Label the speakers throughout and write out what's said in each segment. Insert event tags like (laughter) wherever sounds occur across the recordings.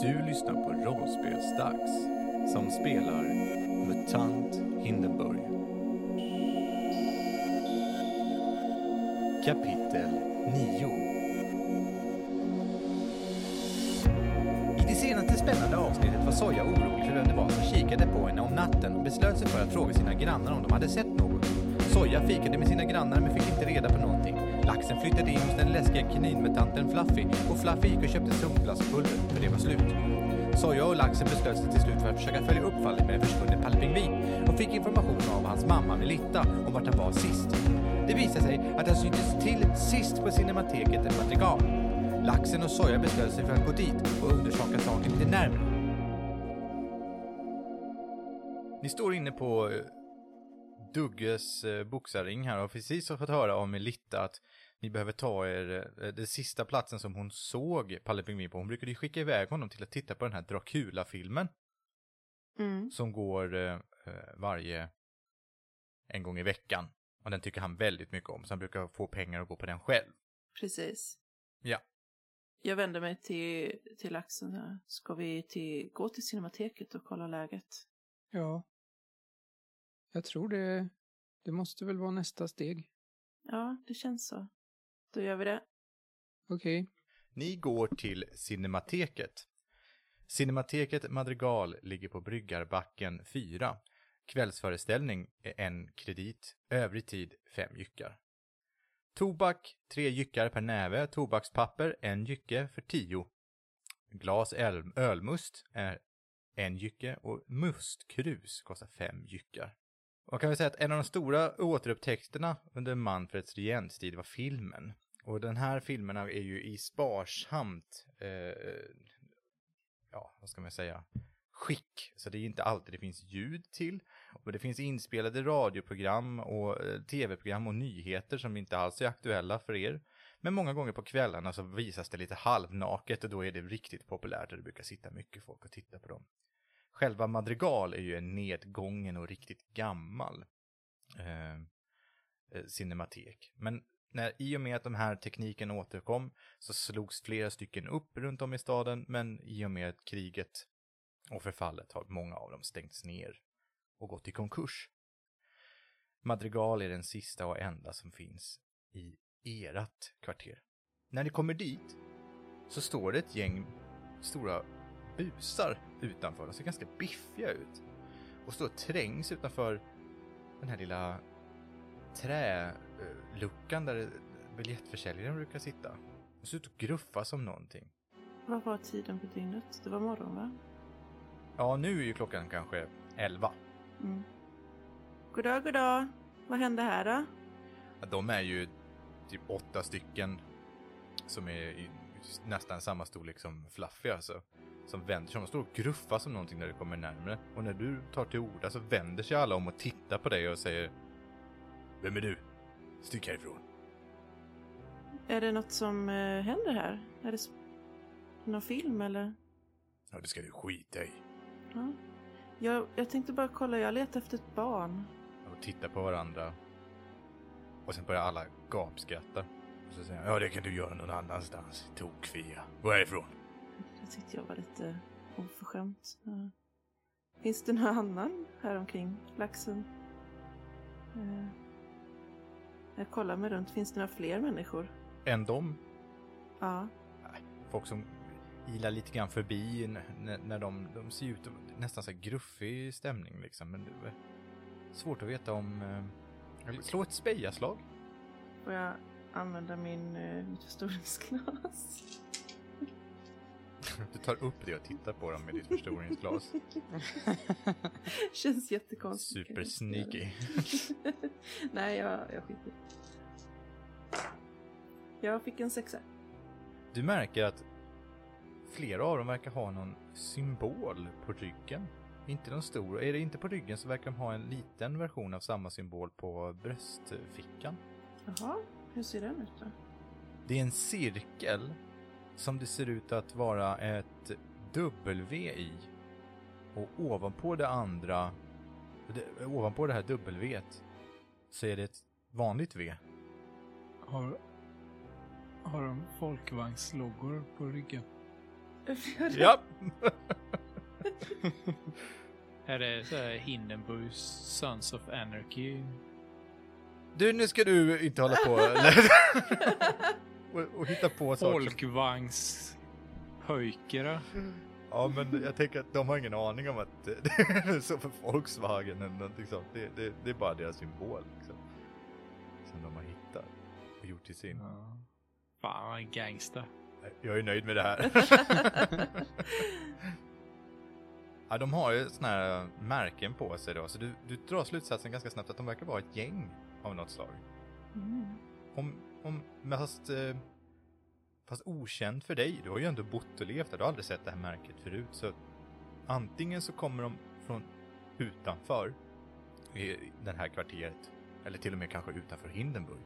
Speaker 1: Du lyssnar på Rollspelsdags som spelar MUTANT Hindenburg. Kapitel 9 I det senaste spännande avsnittet var Soja orolig för vem det var som kikade på henne om natten och beslöt sig för att fråga sina grannar om de hade sett något. Soja fikade med sina grannar men fick inte reda på någonting. Laxen flyttade in hos den läskiga kaninmutanten Fluffy och Fluffy gick och köpte solglaspulver för det var slut. Soja och laxen beslöt sig till slut för att försöka följa upp fallet med en försvunnen pallpingvin och fick information av hans mamma Melitta om vart han var sist. Det visade sig att han syntes till sist på Cinemateket en madrigal. Laxen och Soja beslöt sig för att gå dit och undersöka saken lite närmare. Ni står inne på eh, Dugges eh, boxarring här och har precis fått höra av Melitta att ni behöver ta er eh, den sista platsen som hon såg Palle Pingvin på. Hon brukade ju skicka iväg honom till att titta på den här Dracula-filmen
Speaker 2: Mm.
Speaker 1: som går eh, eh, varje en gång i veckan. Och den tycker han väldigt mycket om så han brukar få pengar och gå på den själv.
Speaker 2: Precis.
Speaker 1: Ja.
Speaker 2: Jag vänder mig till, till Axeln här. Ska vi till, gå till Cinemateket och kolla läget?
Speaker 3: Ja. Jag tror det. Det måste väl vara nästa steg.
Speaker 2: Ja, det känns så. Då gör vi det.
Speaker 3: Okej.
Speaker 1: Ni går till Cinemateket. Cinemateket Madrigal ligger på Bryggarbacken 4. Kvällsföreställning är en kredit, övrig tid fem jyckar. Tobak, tre jyckar per näve, tobakspapper, en jycke för tio. Glas öl- ölmust är en jycke och mustkrus kostar fem jyckar. Man kan väl säga att en av de stora återupptäckterna under Manfreds regenstid var filmen. Och den här filmerna är ju i sparsamt, eh, ja vad ska man säga, skick. Så det är inte alltid det finns ljud till. Och det finns inspelade radioprogram och eh, tv-program och nyheter som inte alls är aktuella för er. Men många gånger på kvällarna så visas det lite halvnaket och då är det riktigt populärt och det brukar sitta mycket folk och titta på dem. Själva Madrigal är ju en nedgången och riktigt gammal eh, eh, cinematek. Men när, i och med att de här tekniken återkom så slogs flera stycken upp runt om i staden men i och med kriget och förfallet har många av dem stängts ner och gått i konkurs. Madrigal är den sista och enda som finns i erat kvarter. När ni kommer dit så står det ett gäng stora busar utanför. De ser ganska biffiga ut. Och står och trängs utanför den här lilla träluckan där biljettförsäljaren brukar sitta. De ser ut att gruffa som någonting.
Speaker 2: Vad var tiden på dygnet? Det var morgon, va?
Speaker 1: Ja, nu är ju klockan kanske 11.
Speaker 2: Mm. Goddag, goddag. Vad hände här då?
Speaker 1: Ja, De är ju typ åtta stycken som är i nästan samma storlek som Fluffy alltså. Som vänder sig om. De står och gruffar som någonting när du kommer närmare. Och när du tar till orda så vänder sig alla om och tittar på dig och säger Vem är du? Stick härifrån.
Speaker 2: Är det något som eh, händer här? Är det sp- någon film eller?
Speaker 1: Ja, det ska du skita i.
Speaker 2: Ja. Jag, jag tänkte bara kolla, jag letar efter ett barn.
Speaker 1: Och tittar på varandra. Och sen börjar alla gapskratta. Och så säger han, ja det kan du göra någon annanstans. Tokfia. Gå härifrån.
Speaker 2: Jag tyckte jag var lite oförskämt. Ja. Finns det någon annan här omkring laxen? Eh, Jag kollar mig runt. Finns det några fler människor?
Speaker 1: Än dem
Speaker 2: Ja.
Speaker 1: folk som ilar lite grann förbi n- när, när de, de ser ut att- nästan så här gruffig stämning liksom. Men det är svårt att veta om... eh, eller Slå ett spejaslag.
Speaker 2: Får jag använda min, eh, mitt förstoringsglas? (laughs)
Speaker 1: Du tar upp det och tittar på dem med ditt förstoringsglas.
Speaker 2: Känns jättekonstigt.
Speaker 1: Supersneaky.
Speaker 2: (laughs) Nej, jag, jag skiter Jag fick en sexa.
Speaker 1: Du märker att flera av dem verkar ha någon symbol på ryggen. Inte någon stor. Är det inte på ryggen så verkar de ha en liten version av samma symbol på bröstfickan.
Speaker 2: Jaha, hur ser den ut då?
Speaker 1: Det är en cirkel som det ser ut att vara ett W i. Och ovanpå det andra, det, ovanpå det här W så är det ett vanligt V.
Speaker 3: Har, har de folkvagnsloggor på ryggen?
Speaker 2: (laughs)
Speaker 1: Ja, (laughs)
Speaker 4: Är det så här Hindenburgs Sons of Anarchy?
Speaker 1: du nu ska du inte hålla på (laughs) och, och hitta på saker. som-
Speaker 4: Folkvagns... Pojkera?
Speaker 1: Ja, men jag tänker att de har ingen aning om att det (laughs) är så för Volkswagen eller någonting sånt. Det, det, det är bara deras symbol liksom. Som de har hittat och gjort till sin.
Speaker 4: Ja. Fan, vad en gangster.
Speaker 1: Jag är nöjd med det
Speaker 2: (laughs)
Speaker 1: här. ja, de har ju såna här märken på sig då, så du, du drar slutsatsen ganska snabbt att de verkar vara ett gäng av något slag.
Speaker 2: Mm.
Speaker 1: Om, om, men fast, eh, fast okänt för dig. Du har ju ändå bott och levt där. Du har aldrig sett det här märket förut. Så antingen så kommer de från utanför i det här kvarteret. Eller till och med kanske utanför Hindenburg.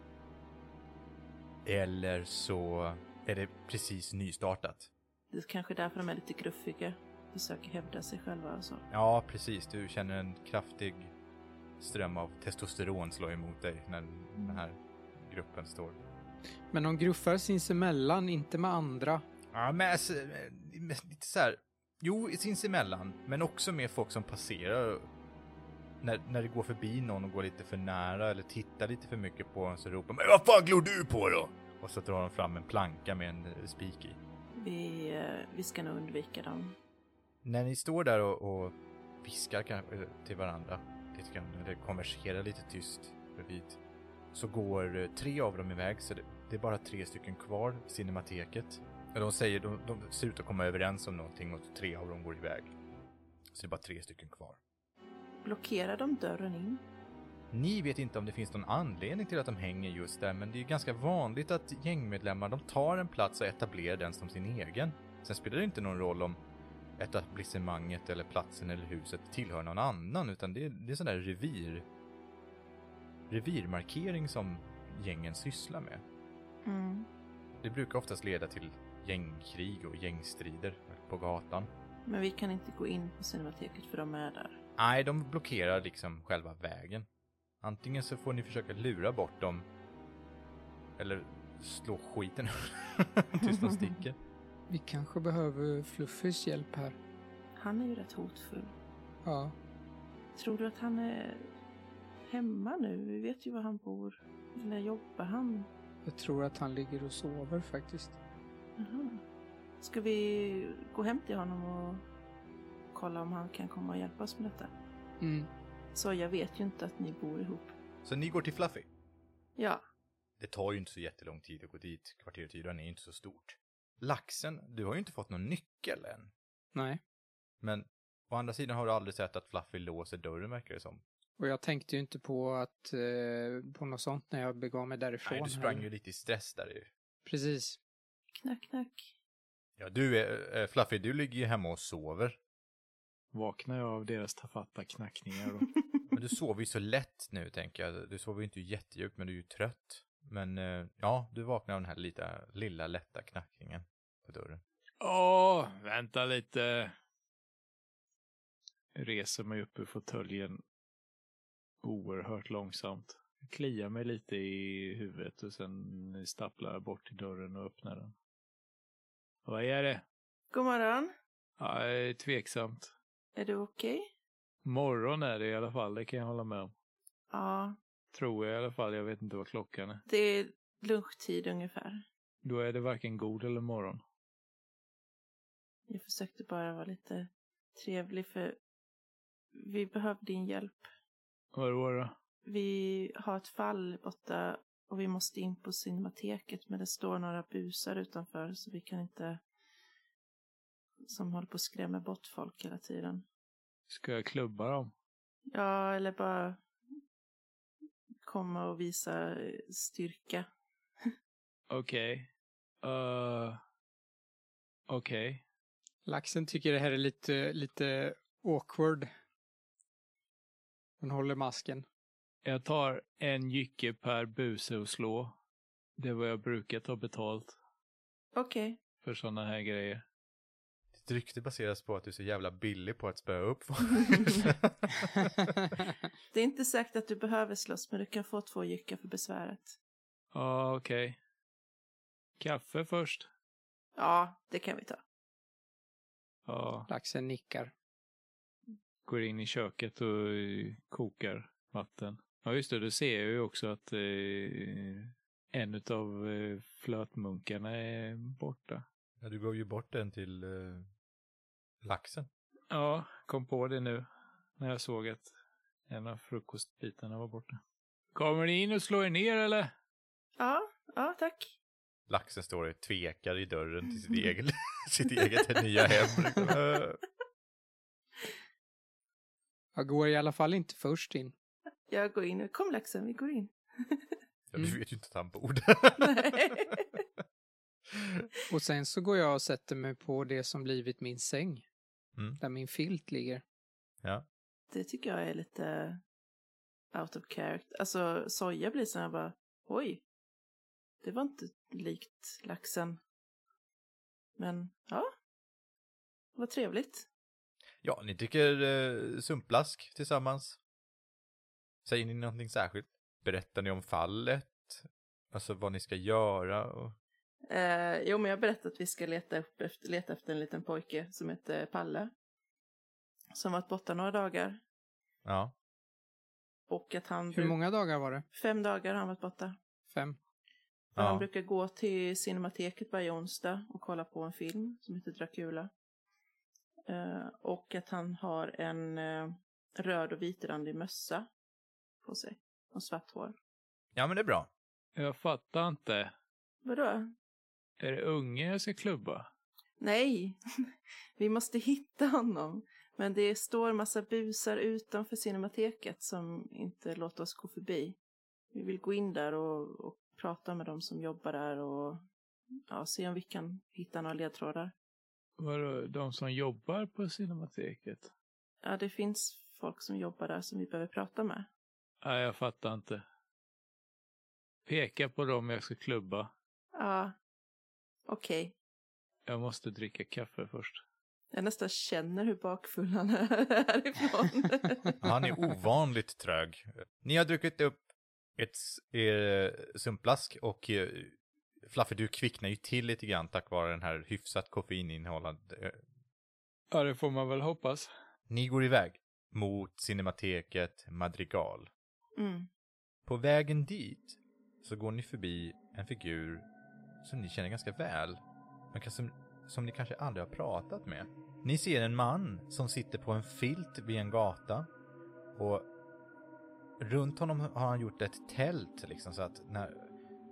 Speaker 1: Eller så är det precis nystartat.
Speaker 2: Det är kanske därför de är lite gruffiga. Försöker hävda sig själva och så.
Speaker 1: Ja, precis. Du känner en kraftig ström av testosteron slå emot dig när den här gruppen står
Speaker 3: Men de gruffar sinsemellan, inte med andra.
Speaker 1: Ja, men alltså, eh, men lite så här. Jo, sinsemellan, men också med folk som passerar. När, när det går förbi någon och går lite för nära eller tittar lite för mycket på en så ropar man vad fan glor du på då? Och så drar de fram en planka med en eh, spik i.
Speaker 2: Vi, eh, vi ska nog undvika dem.
Speaker 1: När ni står där och, och viskar kanske till varandra lite grann, eller konverserar lite tyst bredvid, så går eh, tre av dem iväg, så det, det är bara tre stycken kvar i cinemateket. Och De säger, de, de ser ut att komma överens om någonting och tre av dem går iväg. Så det är bara tre stycken kvar.
Speaker 2: Blockerar de dörren in?
Speaker 1: Ni vet inte om det finns någon anledning till att de hänger just där, men det är ju ganska vanligt att gängmedlemmar de tar en plats och etablerar den som sin egen. Sen spelar det inte någon roll om etablissemanget eller platsen eller huset tillhör någon annan, utan det är, det är sån där revir... revirmarkering som gängen sysslar med.
Speaker 2: Mm.
Speaker 1: Det brukar oftast leda till gängkrig och gängstrider på gatan.
Speaker 2: Men vi kan inte gå in på cinemateket för de är där.
Speaker 1: Nej, de blockerar liksom själva vägen. Antingen så får ni försöka lura bort dem. Eller slå skiten ur- (laughs) tills de sticker.
Speaker 3: Vi kanske behöver Fluffys hjälp här.
Speaker 2: Han är ju rätt hotfull.
Speaker 3: Ja,
Speaker 2: Tror du att han är hemma nu? Vi vet ju var han bor. När jobbar han?
Speaker 3: jag tror att han ligger och sover faktiskt.
Speaker 2: Jaha. Ska vi gå hem till honom och kolla om han kan komma och hjälpa oss med detta?
Speaker 3: Mm.
Speaker 2: Så jag vet ju inte att ni bor ihop.
Speaker 1: Så ni går till Fluffy.
Speaker 2: Ja.
Speaker 1: Det tar ju inte så jättelång tid att gå dit. Kvarteret Yran är ju inte så stort. Laxen, du har ju inte fått någon nyckel än.
Speaker 3: Nej,
Speaker 1: Men å andra sidan har du aldrig sett att Fluffy låser dörren verkar det som.
Speaker 3: och jag tänkte ju inte på att eh, på något sånt när jag begav mig därifrån.
Speaker 1: Nej, du sprang
Speaker 3: heller.
Speaker 1: ju lite i stress där ju.
Speaker 3: Precis.
Speaker 2: Knack, knack.
Speaker 1: Ja, du är, eh, Fluffy, du ligger ju hemma och sover.
Speaker 4: Vaknar jag av deras tafatta knackningar då?
Speaker 1: Men du sover ju så lätt nu, tänker jag. Du sover ju inte jättedjupt, men du är ju trött. Men eh, ja, du vaknar av den här lilla, lilla lätta knackningen på dörren.
Speaker 4: (laughs) Åh, vänta lite. Jag reser mig upp ur fåtöljen oerhört långsamt. Kliar mig lite i huvudet och sen stapplar jag bort till dörren och öppnar den. Vad är det?
Speaker 2: God morgon.
Speaker 4: Ja, det är tveksamt.
Speaker 2: Är du okej?
Speaker 4: Morgon är det i alla fall, det kan jag hålla med om.
Speaker 2: Ja.
Speaker 4: Tror jag i alla fall, jag vet inte vad klockan är.
Speaker 2: Det är lunchtid ungefär.
Speaker 4: Då är det varken god eller morgon.
Speaker 2: Jag försökte bara vara lite trevlig för vi behöver din hjälp.
Speaker 4: Vadå då?
Speaker 2: Vi har ett fall borta och vi måste in på cinemateket men det står några busar utanför så vi kan inte som håller på och skrämmer bort folk hela tiden.
Speaker 4: Ska jag klubba dem?
Speaker 2: Ja, eller bara komma och visa styrka.
Speaker 4: Okej. Eh, Okej.
Speaker 3: Laxen tycker det här är lite, lite awkward. Den håller masken.
Speaker 4: (laughs) Jag tar en jycke per buse och slå. Det är vad jag brukar ta betalt
Speaker 2: Okej.
Speaker 4: för sådana här grejer.
Speaker 1: Ditt rykte baseras på att du är så jävla billig på att spöa upp folk. (laughs)
Speaker 2: Det är inte säkert att du behöver slåss men du kan få två jyckar för besväret.
Speaker 4: Ja, okej. Kaffe först.
Speaker 2: Ja, det kan vi ta.
Speaker 4: Ja,
Speaker 3: Laxen nickar.
Speaker 4: går in i köket och eh, kokar vatten. Ja, just det. Då ser jag ju också att eh, en av eh, flötmunkarna är borta.
Speaker 1: Ja, du gav ju bort den till eh, laxen.
Speaker 4: Ja, kom på det nu när jag såg att en av frukostbitarna var borta. Kommer ni in och slår er ner eller?
Speaker 2: Ja, ja tack.
Speaker 1: Laxen står och tvekar i dörren till sitt eget, sitt eget nya hem. liksom. Eh,
Speaker 3: Jag går i alla fall inte först in.
Speaker 2: Jag går in. Kom laxen, vi går (laughs) in.
Speaker 1: Ja,
Speaker 3: Mm.
Speaker 1: du vet ju inte att han bor där.
Speaker 2: Nej.
Speaker 3: Och sen så går jag och sätter mig på det som blivit min säng.
Speaker 1: Mm.
Speaker 3: Där min filt ligger.
Speaker 2: Det tycker jag är lite eh, out of character. Alltså soja blir så här bara, oj. Det var inte likt laxen. Men ja, vad trevligt.
Speaker 1: Ja, ni dricker eh, sumpblask tillsammans. Säger ni någonting särskilt? Berättar ni om fallet? Alltså vad ni ska göra? Och...
Speaker 2: Eh, jo, men jag berättade att vi ska leta, upp efter, leta efter en liten pojke som heter Palle. Som varit borta några dagar.
Speaker 1: Ja.
Speaker 2: Och att han...
Speaker 3: Hur
Speaker 2: bru-
Speaker 3: många dagar var det?
Speaker 2: Fem dagar har han varit borta.
Speaker 3: Fem?
Speaker 2: Men
Speaker 1: Ja.
Speaker 2: Han brukar gå till Cinemateket varje onsdag och kolla på en film som heter Dracula. Eh, och att han har en eh, röd och vitrandig mössa på sig. Och svart hår.
Speaker 1: ja, men det är bra.
Speaker 4: Jag fattar inte.
Speaker 2: Vadå?
Speaker 4: Är det ungen jag ska klubba?
Speaker 2: Nej! (laughs) Vi måste hitta honom. Men det står massa busar utanför Cinemateket som inte låter oss gå förbi. Vi vill gå in där och, och prata med de som jobbar där och ja, se om vi kan hitta några ledtrådar.
Speaker 4: Vadå, de som jobbar på Cinemateket?
Speaker 2: Ja, det finns folk som jobbar där som vi behöver prata med.
Speaker 4: Nej, jag fattar inte. Peka på dem jag ska klubba.
Speaker 2: Ja, okej.
Speaker 4: Jag måste dricka kaffe först.
Speaker 2: Jag nästan känner hur bakfull han är (laughs) härifrån.
Speaker 1: Han är ovanligt trög. Ni har druckit upp ett s- er sumpblask och eh, Fluffy, du kvicknar ju till lite grann tack vare den här hyfsat koffeininnehållande. eh,
Speaker 4: Ja, det får man väl hoppas.
Speaker 1: Ni går iväg mot Cinemateket Madrigal.
Speaker 2: mm.
Speaker 1: På vägen dit så går ni förbi en figur som ni känner ganska väl, men kan- som, som ni kanske aldrig har pratat med. Ni ser en man som sitter på en filt vid en gata och runt honom har han gjort ett tält liksom så att när,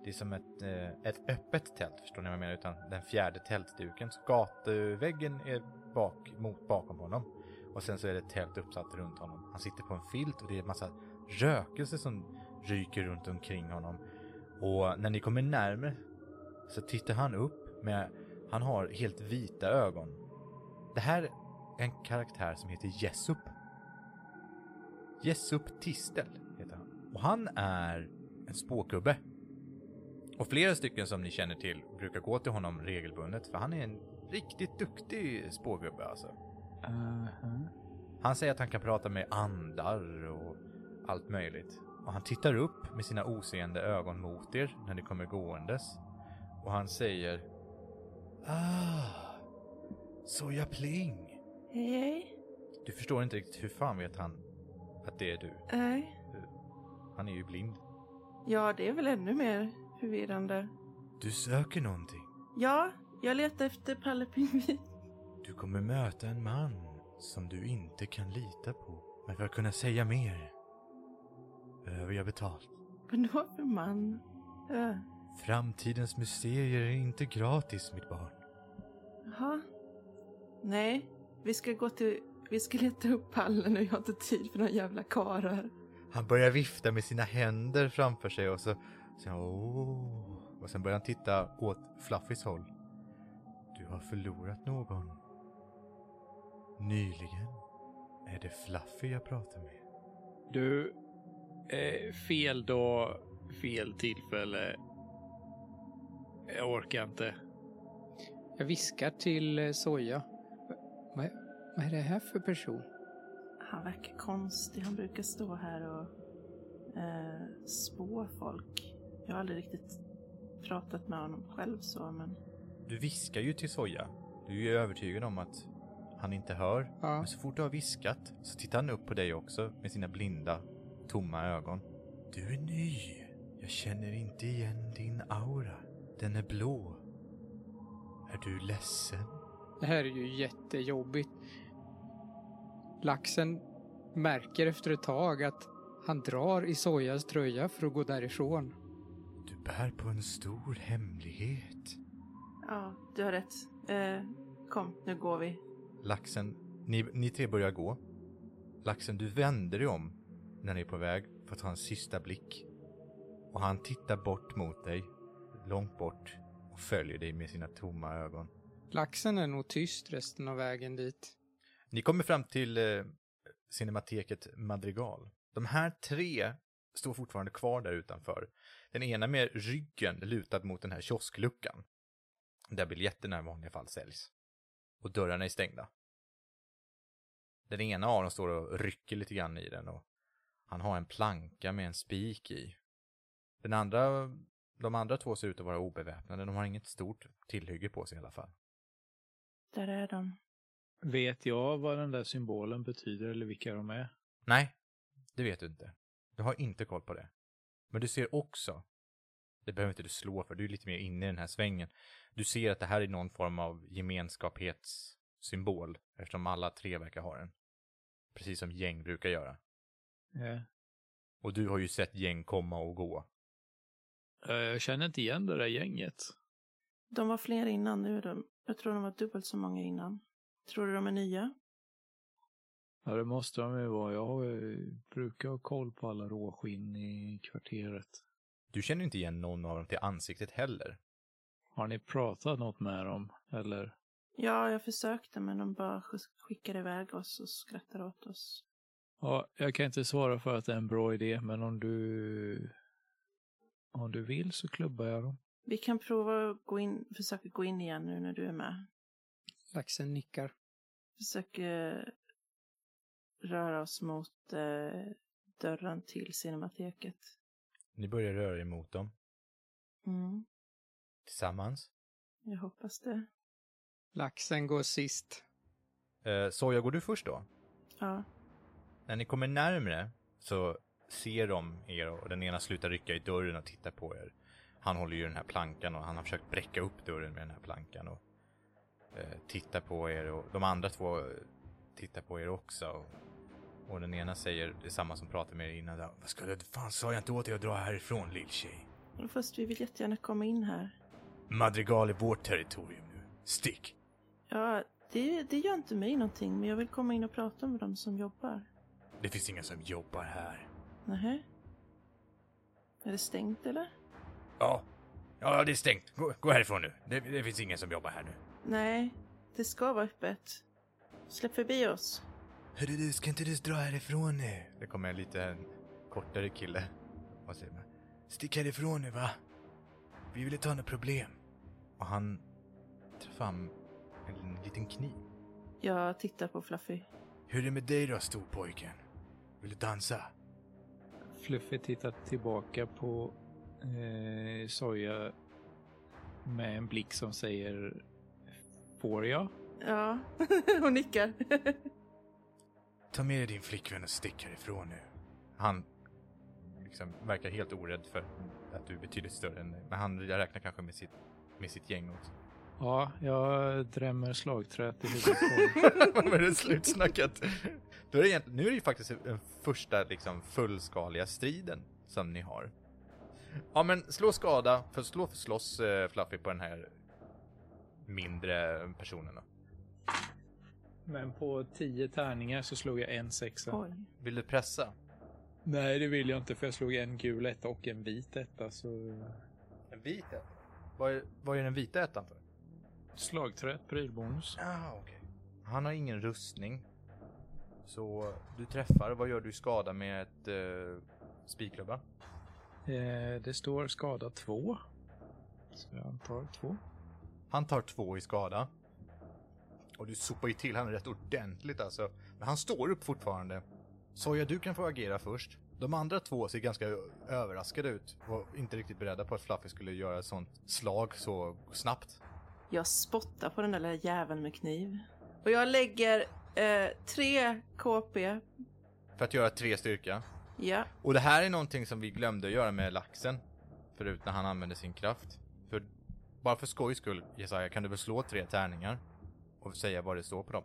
Speaker 1: det är som ett, eh, ett öppet tält, förstår ni vad jag menar? Utan den fjärde tältduken. Så gatuväggen är bak, mot, bakom honom och sen så är det ett tält uppsatt runt honom. Han sitter på en filt och det är en massa rökelse som ryker runt omkring honom. Och när ni kommer närmare så tittar han upp med, han har helt vita ögon. Det här är en karaktär som heter Jessup. Jessup Tistel heter han. Och han är en spåkubbe. Och flera stycken som ni känner till brukar gå till honom regelbundet för han är en riktigt duktig spågubbe alltså. Han säger att han kan prata med andar och allt möjligt. Och han tittar upp med sina oseende ögon mot er när ni kommer gåendes. Och han säger... Ah! Soja Pling!
Speaker 2: Hej, hej.
Speaker 1: Du förstår inte riktigt hur fan vet han att det är du?
Speaker 2: Nej.
Speaker 1: Han är ju blind.
Speaker 2: Ja, det är väl ännu mer förvirrande.
Speaker 1: Du söker någonting.
Speaker 2: Ja, jag letar efter Palle Pingvin. (laughs)
Speaker 1: Du kommer möta en man som du inte kan lita på. Men för att kunna säga mer behöver jag betalt.
Speaker 2: Vadå för man? Äh,
Speaker 1: Framtidens mysterier är inte gratis, mitt barn.
Speaker 2: Jaha. Nej, vi ska gå till... Vi ska leta upp Palle nu, jag har inte tid för några jävla karar.
Speaker 1: Han börjar vifta med sina händer framför sig och så... så åh. Och sen börjar han titta åt Fluffys håll. Du har förlorat någon. Nyligen är det Fluffy jag pratar med.
Speaker 4: Du, eh, fel dag, fel tillfälle. Jag orkar inte.
Speaker 3: Jag viskar till eh, Soja. Va- Vad, vad är det här för person?
Speaker 2: Han verkar konstig. Han brukar stå här och eh, spå folk. Jag har aldrig riktigt pratat med honom själv så, men
Speaker 1: Du viskar ju till Soja. Du är ju övertygad om att han inte hör.
Speaker 3: Ja.
Speaker 1: Men så fort du har viskat så tittar han upp på dig också med sina blinda, tomma ögon. Du är ny. Jag känner inte igen din aura. Den är blå. Är du ledsen?
Speaker 3: Det här är ju jättejobbigt. Laxen märker efter ett tag att han drar i Sojas tröja för att gå därifrån.
Speaker 1: Du bär på en stor hemlighet.
Speaker 2: Ja, du har rätt. Eh, kom, nu går vi.
Speaker 1: Laxen, ni, ni tre börjar gå. Laxen, du vänder dig om när ni är på väg för att ta en sista blick. Och han tittar bort mot dig, långt bort, och följer dig med sina tomma ögon.
Speaker 3: Laxen är nog tyst resten av vägen dit.
Speaker 1: Ni kommer fram till eh, cinemateket Madrigal. De här tre står fortfarande kvar där utanför. Den ena med ryggen lutad mot den här kioskluckan. Där biljetterna i vanliga fall säljs. Och dörrarna är stängda. Den ena av dem står och rycker lite grann i den och han har en planka med en spik i. Den andra, de andra två ser ut att vara obeväpnade. De har inget stort tillhygge på sig i alla fall.
Speaker 2: Där är de.
Speaker 4: Vet jag vad den där symbolen betyder eller vilka de är?
Speaker 1: Nej, det vet du inte. Du har inte koll på det. Men du ser också, det behöver inte du slå för, du är lite mer inne i den här svängen. Du ser att det här är någon form av gemenskapssymbol, eftersom alla tre verkar ha den. Precis som gäng brukar göra.
Speaker 4: Ja.
Speaker 1: Och du har ju sett gäng komma och gå.
Speaker 4: Eh, Jag känner inte igen det där gänget.
Speaker 2: De var fler innan nu. De, jag tror de var dubbelt så många innan. Tror du de är nya?
Speaker 4: Ja, det måste de ju vara. Jag har ju- brukar ha koll på alla råskinn i kvarteret.
Speaker 1: Du känner inte igen någon av dem till ansiktet heller.
Speaker 4: Har ni pratat något med dem? Eller?
Speaker 2: Ja, jag försökte men de bara sk- skickade iväg oss och skrattade åt oss.
Speaker 4: Ja, jag kan inte svara för att det är en bra idé, men om du... Om du vill så klubbar jag dem.
Speaker 2: Vi kan prova att gå in, försöka gå in igen nu när du är med.
Speaker 3: Laxen nickar.
Speaker 2: Försöker eh, röra oss mot eh, dörren till cinemateket.
Speaker 1: Ni börjar röra er mot dem,
Speaker 2: Mm,
Speaker 1: tillsammans.
Speaker 2: jag hoppas det.
Speaker 3: Laxen går sist.
Speaker 1: Eh, Soja, går du först då?
Speaker 2: Ja,
Speaker 1: När ni kommer närmre så ser de er och den ena slutar rycka i dörren och tittar på er. Han håller ju den här plankan och han har försökt bräcka upp dörren med den här plankan och eh, tittar på er och de andra två eh, tittar på er också. Och, och den ena säger detsamma som pratade med er innan. där, Vad ska du, fan sa jag inte åt dig att dra härifrån lilltjej?
Speaker 2: men först vi vill jättegärna komma in här.
Speaker 1: Madrigal är vårt territorium nu. Stick!
Speaker 2: Ja, det, det gör inte mig någonting men jag vill komma in och prata med dem som jobbar.
Speaker 1: Det finns inga som jobbar här.
Speaker 2: Nähä? Är det stängt eller?
Speaker 1: Ja, ja det är stängt. Gå, gå härifrån nu. Det, det finns ingen som jobbar här nu.
Speaker 2: Nej, det ska vara öppet. Släpp förbi oss.
Speaker 1: Hörru du, ska inte du dra härifrån nu? Det kommer en lite kortare kille. Vad säger man? Stick härifrån nu va? Vi vill inte ha några problem. Och han tar fram en liten kniv.
Speaker 2: Jag tittar på Fluffy.
Speaker 1: Hur är det med dig då storpojken? Vill du dansa?
Speaker 4: Fluffy tittar tillbaka på eh, Soja med en blick som säger Får jag?
Speaker 2: Ja, (laughs) hon nickar.
Speaker 1: Ta med dig din flickvän och stick härifrån nu. Han liksom verkar helt orädd för att du är betydligt större än dig. Men han räknar kanske med sitt, med sitt gäng också.
Speaker 4: Ja, jag drämmer slagträt i huvudet
Speaker 1: (laughs)
Speaker 4: på honom.
Speaker 1: Men är det slutsnackat? Då är det egentligen, nu är det ju faktiskt den första liksom, fullskaliga striden som ni har. Ja men slå skada, för slå för slåss eh, Fluffy på den här mindre personen då.
Speaker 4: (laughs) Men på tio tärningar så slog jag en sexa.
Speaker 2: Oj.
Speaker 1: Vill du pressa?
Speaker 4: Nej, det vill jag inte för jag slog en gul etta och en vit etta. Så...
Speaker 1: En vit etta? Vad är, vad är den vita ettan för?
Speaker 4: Slagträt, prylbonus.
Speaker 1: Ah, okej. Han har ingen rustning. Så du träffar, vad gör du i skada med ett eh, spikklubba?
Speaker 4: Eh, det står skada två. Så jag antar två.
Speaker 1: Han tar två i skada. Och du sopar ju till han rätt ordentligt alltså. Men han står upp fortfarande. Soja, du kan få agera först. De andra två ser ganska ö- överraskade ut. Var inte riktigt beredda på att Fluffy skulle göra ett sånt slag så snabbt.
Speaker 2: Jag spottar på den där lilla jäveln med kniv. Och jag lägger eh, tre KP.
Speaker 1: För att göra tre styrka.
Speaker 2: Ja,
Speaker 1: Och det här är någonting som vi glömde göra med laxen. Förut när han använde sin kraft. För bara för skojs skull, Jesaja, kan du väl slå tre tärningar? Och säga vad det står på dem.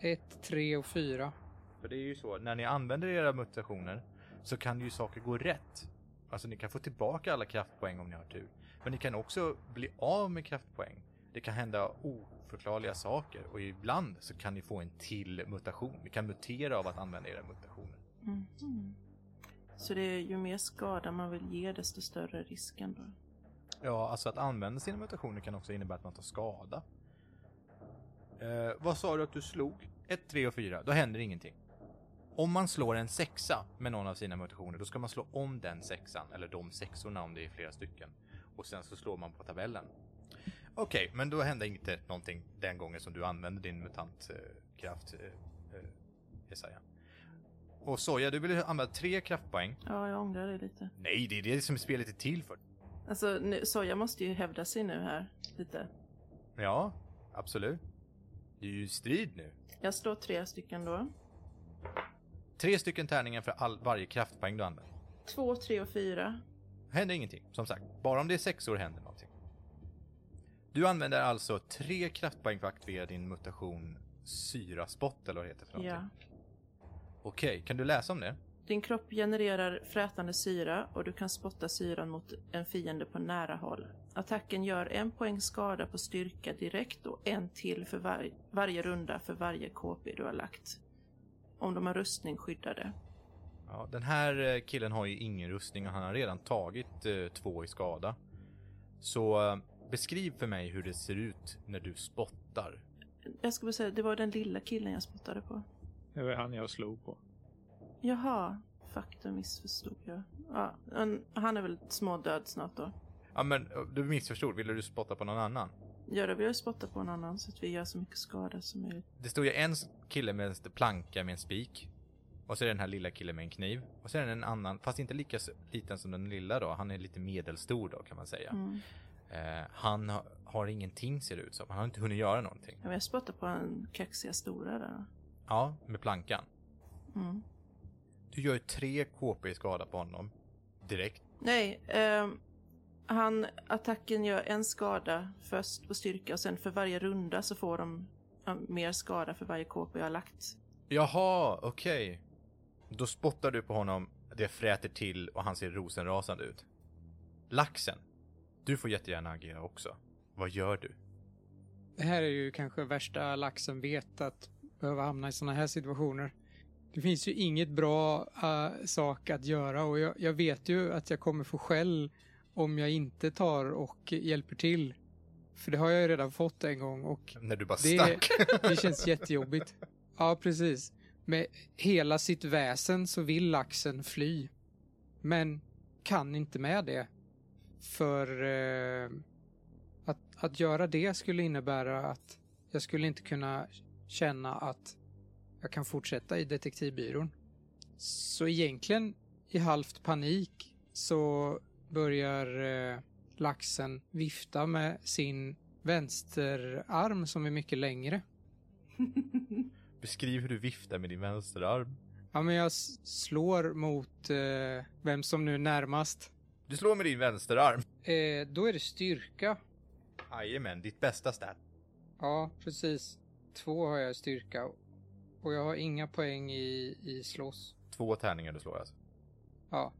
Speaker 3: Ett, tre och fyra.
Speaker 1: För det är ju så, när ni använder era mutationer så kan ju saker gå rätt. Alltså ni kan få tillbaka alla kraftpoäng om ni har tur. Men ni kan också bli av med kraftpoäng. Det kan hända oförklarliga saker och ibland så kan ni få en till mutation. Ni kan mutera av att använda era mutationer.
Speaker 2: Mhm. Så det är ju mer skada man vill ge desto större risken då.
Speaker 1: Ja, alltså att använda sina mutationer kan också innebära att man tar skada. Eh, vad sa du att du slog? 1, 3 och 4, då händer ingenting. Om man slår en sexa med någon av sina mutationer, då ska man slå om den sexan, eller de sexorna om det är flera stycken. Och sen så slår man på tabellen. Okej, men då hände inte någonting den gången som du använde din mutantkraft, eh, eh, Jesaja. Och Soja, du ville använda tre kraftpoäng.
Speaker 2: Ja, jag ångrar det lite.
Speaker 1: Nej, det är det som spelet är till för.
Speaker 2: Alltså, nu, soja måste ju hävda sig nu här lite.
Speaker 1: Ja, absolut. Det är ju strid nu.
Speaker 2: Jag slår tre stycken då.
Speaker 1: Tre stycken tärningar för all, varje kraftpoäng du använder.
Speaker 2: Två, tre och fyra.
Speaker 1: Händer ingenting, som sagt. Bara om det är sexor händer någonting. Du använder alltså tre kraftpoäng för att aktivera din mutation syraspott, eller vad det heter för någonting.
Speaker 2: Ja.
Speaker 1: Okej, kan du läsa om det?
Speaker 2: Din kropp genererar frätande syra och du kan spotta syran mot en fiende på nära håll. Attacken gör en poäng skada på styrka direkt och en till för var- varje runda för varje KP du har lagt. Om de har rustning skyddade.
Speaker 1: Ja, den här eh, killen har ju ingen rustning och han har redan tagit eh, två i skada. Så eh, beskriv för mig hur det ser ut när du spottar.
Speaker 2: Jag ska bara säga, det var den lilla killen jag spottade på.
Speaker 4: Det var han jag slog på.
Speaker 2: Jaha, fuck då missförstod jag. Ja, han- han är väl smådöd snart då.
Speaker 1: Ja, men eh, du missförstod. Ville du spotta på någon annan?
Speaker 2: Ja, då vill jag spotta på en annan så att vi gör så mycket skada som möjligt.
Speaker 1: Det står ju en kille med en planka med en spik. Och så är det den här lilla killen med en kniv. Och så är det en annan, fast inte lika s- liten som den lilla då. Han är lite medelstor då kan man säga.
Speaker 2: Mm.
Speaker 1: Eh, han ha, har ingenting ser det ut som. Han har inte hunnit göra någonting.
Speaker 2: Ja, men jag spottar på en kaxiga stora där.
Speaker 1: Ja, med plankan.
Speaker 2: Mm.
Speaker 1: Du gör ju tre KP i skada på honom. Direkt.
Speaker 2: Nej, ehm, han, attacken gör en skada först på styrka och sen för varje runda så får de eh, mer skada för varje KP jag har lagt.
Speaker 1: Jaha, okej. Då spottar du på honom, det fräter till och han ser rosenrasande ut. Laxen, du får jättegärna agera också. Vad gör du?
Speaker 3: Det här är ju kanske värsta laxen vet att behöva hamna i sådana här situationer. Det finns ju inget bra eh, sak att göra och jag, jag vet ju att jag kommer få skäll om jag inte tar och hjälper till. För det har jag ju redan fått en gång och
Speaker 1: När du bara
Speaker 3: Det-
Speaker 1: stack. (laughs)
Speaker 3: det känns jättejobbigt. Ja, precis. Med hela sitt väsen så vill laxen fly. Men kan inte med det. För eh, att, att göra det skulle innebära att jag skulle inte kunna känna att jag kan fortsätta i detektivbyrån. Så egentligen i halvt panik så börjar eh, laxen vifta med sin vänsterarm som är mycket längre.
Speaker 1: Beskriv hur du viftar med din vänsterarm.
Speaker 3: Ja, men jag s- slår mot eh, vem som nu är närmast.
Speaker 1: Du slår med din vänsterarm.
Speaker 3: Eh, då är det styrka.
Speaker 1: Jajamän, ditt bästa stat.
Speaker 3: Ja, precis. Två har jag i styrka. Och jag har inga poäng i, i slåss.
Speaker 1: Två tärningar du slår alltså.
Speaker 3: Ja.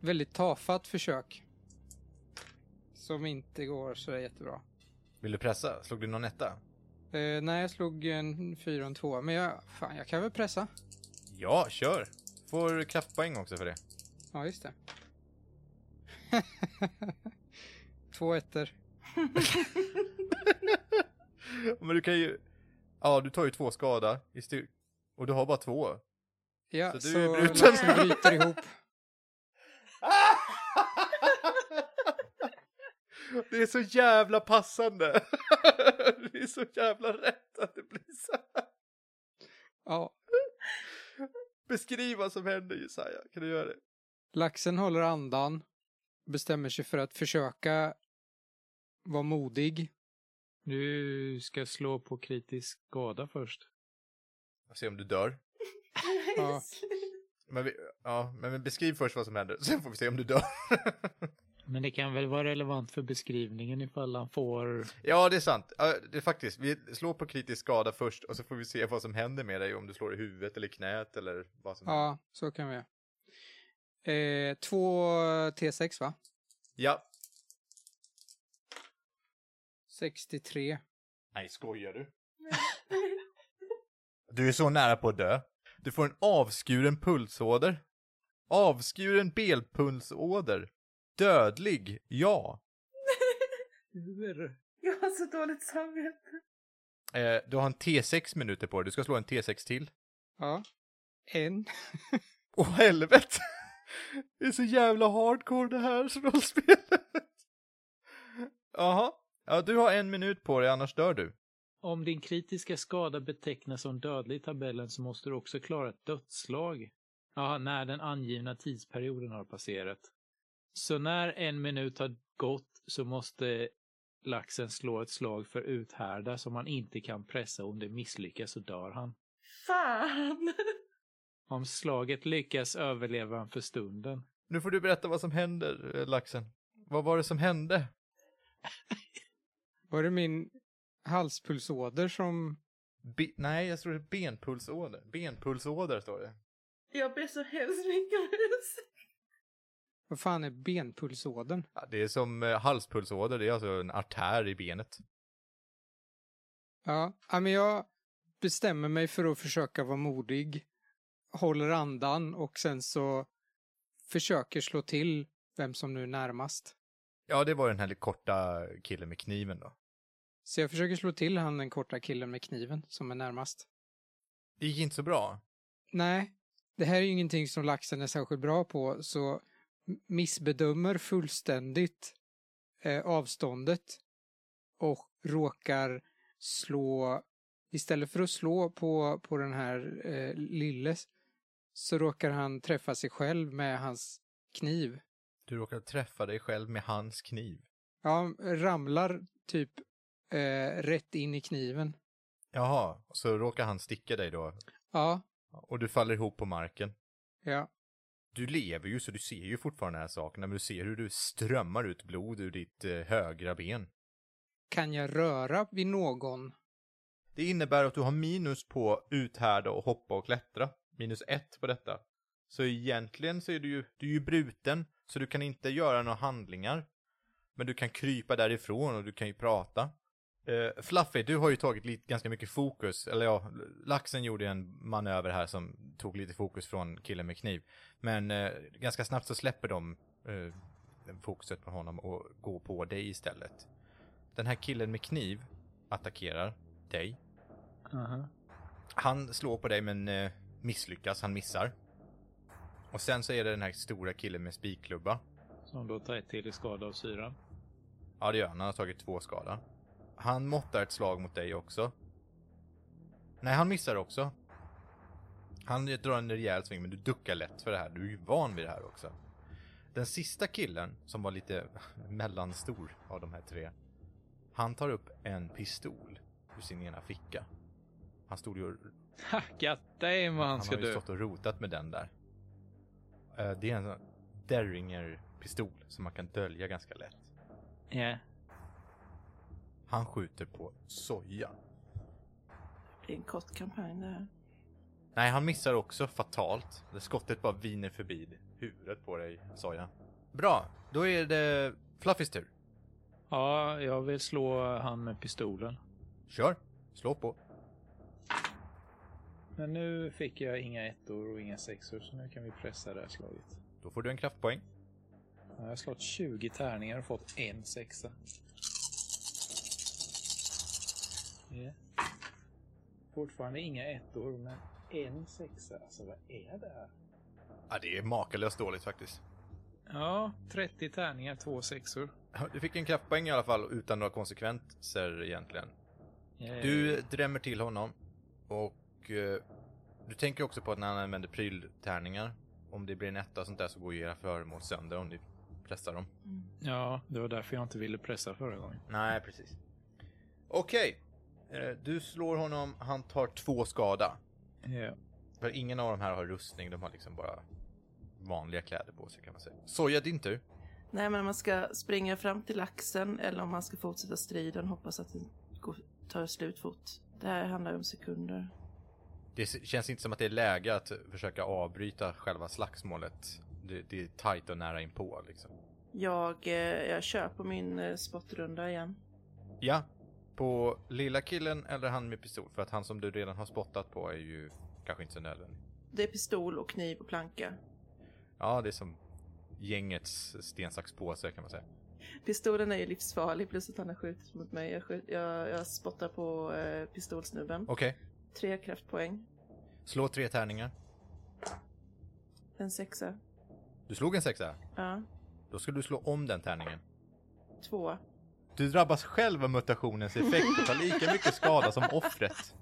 Speaker 3: Väldigt tafatt försök. Som inte går så där jättebra.
Speaker 1: Vill du pressa? Slog du någon etta?
Speaker 3: Eh, nej, jag slog en fyra och en tvåa. Men jag, fan, jag kan väl pressa.
Speaker 1: Ja, kör! Får kraftpoäng också för det.
Speaker 3: Ja, just det. (laughs) Två ettor.
Speaker 1: (laughs) Men du kan ju... Ja, du tar ju två skada i styr... Och du har bara (laughs) två.
Speaker 3: Ja,
Speaker 1: Så
Speaker 3: så,
Speaker 1: du är bruten.
Speaker 3: laxen bryter ihop.
Speaker 1: Det är så jävla passande! (laughs) Det är så jävla rätt att det blir så här.
Speaker 3: Ja,
Speaker 1: Beskriv vad som händer Jesaja, kan du göra det?
Speaker 3: Laxen håller andan, bestämmer sig för att försöka vara modig,
Speaker 4: Du ska slå på kritisk skada först.
Speaker 1: Får se om du dör.
Speaker 3: Ja.
Speaker 1: Men, vi, ja, men vi beskriv först vad som händer, (laughs) sen får vi se om du dör.
Speaker 4: Men det kan väl vara relevant för beskrivningen ifall han får...
Speaker 1: ja, det är sant. Ja, det är faktiskt, vi slår på kritisk skada först och så får vi se vad som händer med dig, om du slår i huvudet eller knät eller vad som händer.
Speaker 3: Ja, så kan vi göra. Eh, två T6 va?
Speaker 1: Ja.
Speaker 3: 63.
Speaker 1: Nej, skojar du? Du är så nära på att dö. Du får en avskuren pulsåder. Avskuren belpulsåder. Dödlig, ja.
Speaker 2: Jag har så dåligt samvete.
Speaker 1: Eh, du har en T6 minuter på dig, du ska slå en T6 till.
Speaker 3: Ja. En.
Speaker 1: Åh helvete! (laughs) Det är så jävla hardcore det här som rollspelet. Jaha. Ja, du har en minut på dig, annars dör du.
Speaker 4: Om din kritiska skada betecknas som dödlig i tabellen så måste du också klara ett dödsslag. Ja, när den angivna tidsperioden har passerat. Så när en minut har gått så måste laxen slå ett slag för uthärda som han inte kan pressa om det misslyckas så dör han.
Speaker 2: Fan!
Speaker 4: Om slaget lyckas överlever han för stunden.
Speaker 1: Nu får du berätta vad som händer, eh, laxen. Vad var det som hände?
Speaker 3: Var det min halspulsåder som...
Speaker 1: Be- Nej, jag tror det är benpulsåder. Benpulsåder står det.
Speaker 2: Jag ber så hemskt mycket om ursäkt.
Speaker 3: Vad fan är benpulsådern?
Speaker 1: Ja, det är som eh, halspulsåder, det är alltså en artär i benet.
Speaker 3: Ja, ja, men jag bestämmer mig för att försöka vara modig. Håller andan och sen så försöker slå till vem som nu är närmast.
Speaker 1: Ja, det var den här korta killen med kniven då.
Speaker 3: Så jag försöker slå till han den korta killen med kniven som är närmast.
Speaker 1: Det gick inte så bra.
Speaker 3: Nej, det här är ju ingenting som laxen är särskilt bra på, så m- missbedömer fullständigt eh, avståndet och råkar slå, istället för att slå på, på den här eh, lille, så råkar han träffa sig själv med hans kniv.
Speaker 1: Du råkade träffa dig själv med hans kniv.
Speaker 3: Ja, han ramlar typ eh, rätt in i kniven.
Speaker 1: Jaha, så råkar han sticka dig då
Speaker 3: Ja,
Speaker 1: och du faller ihop på marken.
Speaker 3: ja,
Speaker 1: Du lever ju så du ser ju fortfarande de här sakerna men du ser hur du strömmar ut blod ur ditt eh, högra ben.
Speaker 3: kan jag röra vid någon?
Speaker 1: Det innebär att du har minus på uthärda och hoppa och klättra. Minus ett på detta. Så egentligen så är du ju, du är ju bruten så du kan inte göra några handlingar. Men du kan krypa därifrån och du kan ju prata. Eh, Fluffy, du har ju tagit lite, ganska mycket fokus, eller ja, laxen gjorde ju en manöver här som tog lite fokus från killen med kniv. Men eh, ganska snabbt så släpper de eh, fokuset på honom och går på dig istället. Den här killen med kniv attackerar dig.
Speaker 4: Aha.
Speaker 1: Han slår på dig men eh, misslyckas, han missar. Och sen så är det den här stora killen med spikklubba.
Speaker 4: Som då tar ett till i skada av syran.
Speaker 1: Ja det gör han, han har tagit två skada. Han måttar ett slag mot dig också. Nej, han missar också. Han drar en rejäl sving men du duckar lätt för det här, du är ju van vid det här också. Den sista killen, som var lite (laughs) mellanstor av de här tre. Han tar upp en pistol ur sin ena ficka. Han stod ju och
Speaker 4: Ha, God damn vad han
Speaker 1: han
Speaker 4: ska
Speaker 1: har ju
Speaker 4: dö.
Speaker 1: stått och rotat med den där. Eh, Det är en sån Derringer-pistol som man kan dölja ganska lätt.
Speaker 4: Ja.
Speaker 1: Han skjuter på soja.
Speaker 2: Det blir en kort kampanj det här.
Speaker 1: Nej, han missar också fatalt. Det skottet bara viner förbi huvudet på dig, soja. Bra, då är det Fluffys tur.
Speaker 4: ja, jag vill slå han med pistolen.
Speaker 1: Kör, slå på.
Speaker 4: Men nu fick jag inga ettor och inga sexor så nu kan vi pressa det här slaget.
Speaker 1: Då får du en kraftpoäng.
Speaker 4: Ja, Jag har slått 20 tärningar och fått en sexa. Ja. Fortfarande inga ettor, men en sexa. Alltså vad är det här?
Speaker 1: Ja, det är makalöst dåligt faktiskt.
Speaker 4: Ja, 30 tärningar, två sexor.
Speaker 1: Du fick en kraftpoäng i alla fall utan några konsekvenser egentligen. Du drämmer till honom och eh, du tänker också på att när han använder pryltärningar, om det blir en etta och sånt där så går ju era föremål sönder om ni pressar dem.
Speaker 4: Ja, det var därför jag inte ville pressa förra gången.
Speaker 1: Nej, precis. Okej. Eh, Du slår honom, han tar två skada.
Speaker 4: Ja.
Speaker 1: För ingen av de här har rustning, de har liksom bara vanliga kläder på sig kan man säga. Soja, din tur.
Speaker 2: Nej, men om man ska springa fram till laxen eller om man ska fortsätta striden hoppas att det går, tar slut fort. Det här handlar ju om sekunder.
Speaker 1: Det s- känns inte som att det är läge att försöka avbryta själva slagsmålet. Det, det är tajt och nära inpå liksom.
Speaker 2: Jag, eh, jag kör på min eh, spotrunda igen.
Speaker 1: Ja, på lilla killen eller han med pistol. För att han som du redan har spottat på är ju kanske inte så nödvändig.
Speaker 2: Det är pistol och kniv och planka.
Speaker 1: Ja, det är som gängets sten, sax, påse kan man säga.
Speaker 2: Pistolen är ju livsfarlig plus att han har skjutit mot mig. Jag, skjut, jag, jag spottar på eh, pistolsnubben.
Speaker 1: Okej,
Speaker 2: Tre kraftpoäng.
Speaker 1: slå tre tärningar.
Speaker 2: En sexa.
Speaker 1: Du slog en sexa.
Speaker 2: Ja.
Speaker 1: Då ska du slå om den tärningen.
Speaker 2: Två.
Speaker 1: Du drabbas själv av mutationens effekt och tar lika mycket skada som offret.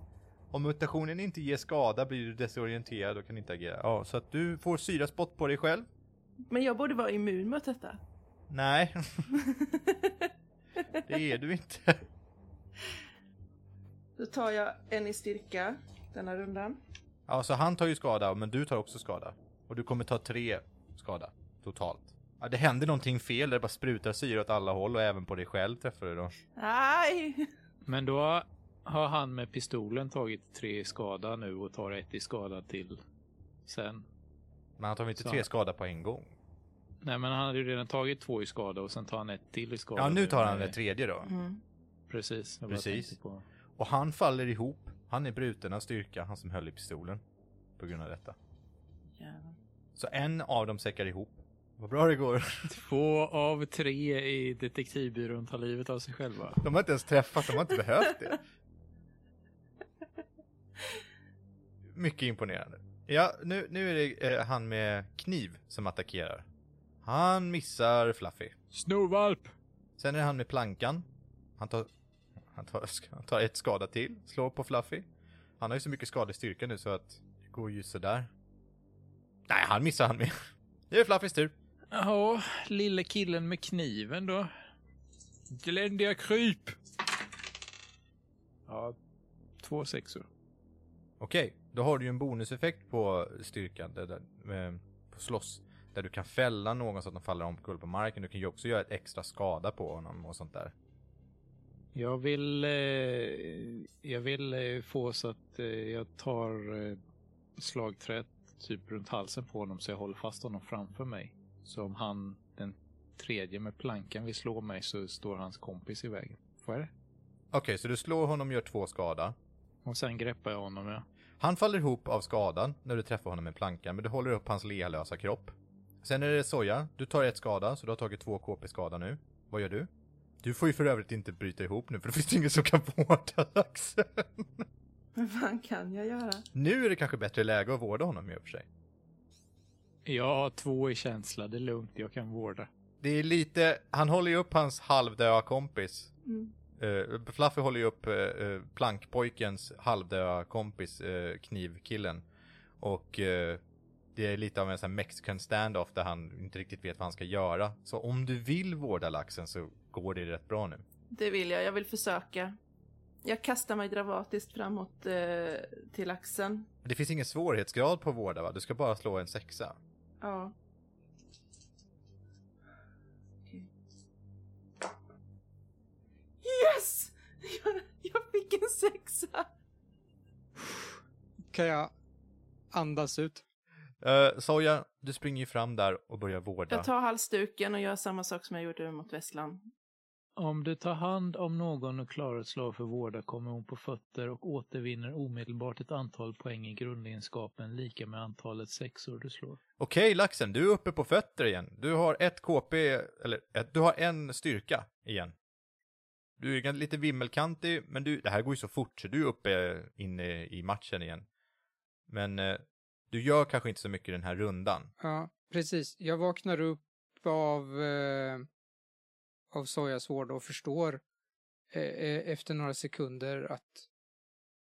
Speaker 1: Om mutationen inte ger skada blir du desorienterad och kan inte agera. Ja, så att du får syraspott på dig själv.
Speaker 2: Men jag borde vara immun mot detta.
Speaker 1: Nej, (laughs) det är du inte.
Speaker 2: Då tar jag en i styrka denna rundan.
Speaker 1: Ja, så han tar ju skada, men du tar också skada. Och du kommer ta tre skada totalt. Ja, det händer någonting fel där det bara sprutar syra åt alla håll och även på dig själv träffar du då.
Speaker 2: Aj!
Speaker 4: Men då har han med pistolen tagit tre i skada nu och tar ett i skada till sen.
Speaker 1: Men han tar väl inte
Speaker 4: Så.
Speaker 1: tre skada på en gång?
Speaker 4: Nej, men han hade ju redan tagit två i skada och sen tar han ett till i skada.
Speaker 1: Ja, nu tar han
Speaker 4: Nej,
Speaker 1: den tredje då.
Speaker 2: Mm.
Speaker 4: Precis. jag bara
Speaker 1: Precis.
Speaker 4: tänkte på-
Speaker 1: Och han faller ihop. Han är bruten av styrka, han som höll i pistolen. På grund av detta.
Speaker 2: Jävlar.
Speaker 1: Så en av dem säckar ihop. Vad bra det går.
Speaker 4: Två av tre i detektivbyrån tar livet av sig själva.
Speaker 1: De har inte ens träffat, de har inte behövt det. Mycket imponerande. Ja, nu, nu är det eh, han med kniv som attackerar. Han missar Fluffy.
Speaker 4: Snorvalp!
Speaker 1: Sen är det han med plankan. Han tar, han tar, (laughs) han tar ett skada till, slår på Fluffy. Han har ju så mycket skadestyrka nu så att det går ju sådär. Nej, han missar han med. (laughs) Det är Fluffys tur.
Speaker 4: Ja, lille killen med kniven då. Gländiga kryp! Ja, två sexor.
Speaker 1: Okej, då har du ju en bonuseffekt på styrkan, där, där, eh, på slåss. Där du kan fälla någon så att de faller omkull på marken. Du kan ju också göra ett extra skada på honom och sånt där.
Speaker 4: Jag vill, eh, jag vill eh, få så att eh, jag tar eh, slagträet typ runt halsen på honom så jag håller fast honom framför mig. Så om han, den tredje med plankan, vill slå mig så står hans kompis i vägen. Får jag det?
Speaker 1: Okej, så du slår honom och gör två skada.
Speaker 4: Och sen greppar jag honom, ja.
Speaker 1: Han faller ihop av skadan när du träffar honom med plankan, men du håller upp hans lealösa kropp. Sen är det Soja. Du tar ett skada, så du har tagit två KP-skada nu. Vad gör du? Du får ju för övrigt inte bryta ihop nu, för det finns ju ingen som kan (laughs) vårda Laxen.
Speaker 2: Men vad kan jag göra?
Speaker 1: Nu är det kanske bättre läge att vårda honom i och för sig.
Speaker 4: Jag har två i känsla, det är lugnt, jag kan vårda.
Speaker 1: Det är lite, han håller ju upp hans halvdöda kompis.
Speaker 2: Mm.
Speaker 1: Eh, Fluffy håller ju upp eh, eh, plankpojkens halvdöda kompis, eh, knivkillen. Och eh, det är lite av en sån här mexican standoff där han inte riktigt vet vad han ska göra. Så om du vill vårda laxen så går det rätt bra nu.
Speaker 2: Det vill jag. Jag vill försöka. Jag kastar mig dramatiskt framåt eh, till axeln.
Speaker 1: Det finns ingen svårighetsgrad på vårda va? Du ska bara slå en sexa.
Speaker 2: Ja. Okej. Yes! Jag, jag fick en sexa!
Speaker 3: Kan jag andas ut?
Speaker 1: Eh, Soja, du springer ju fram där och börjar vårda.
Speaker 2: Jag tar halsduken och gör samma sak som jag gjorde mot vässlan.
Speaker 4: Om du tar hand om någon och klarar ett slag för vårda kommer hon på fötter och återvinner omedelbart ett antal poäng i grundegenskapen lika med antalet sexor du slår.
Speaker 1: Okej laxen, du är uppe på fötter igen. Du har ett KP, eller ett, du har en styrka igen. Du är gan- lite vimmelkantig, men du, det här går ju så fort så du är uppe inne i matchen igen. Men eh, du gör kanske inte så mycket den här rundan.
Speaker 3: Ja, precis. Jag vaknar upp av, eh, av Sojas vård och förstår eh, eh, efter några sekunder att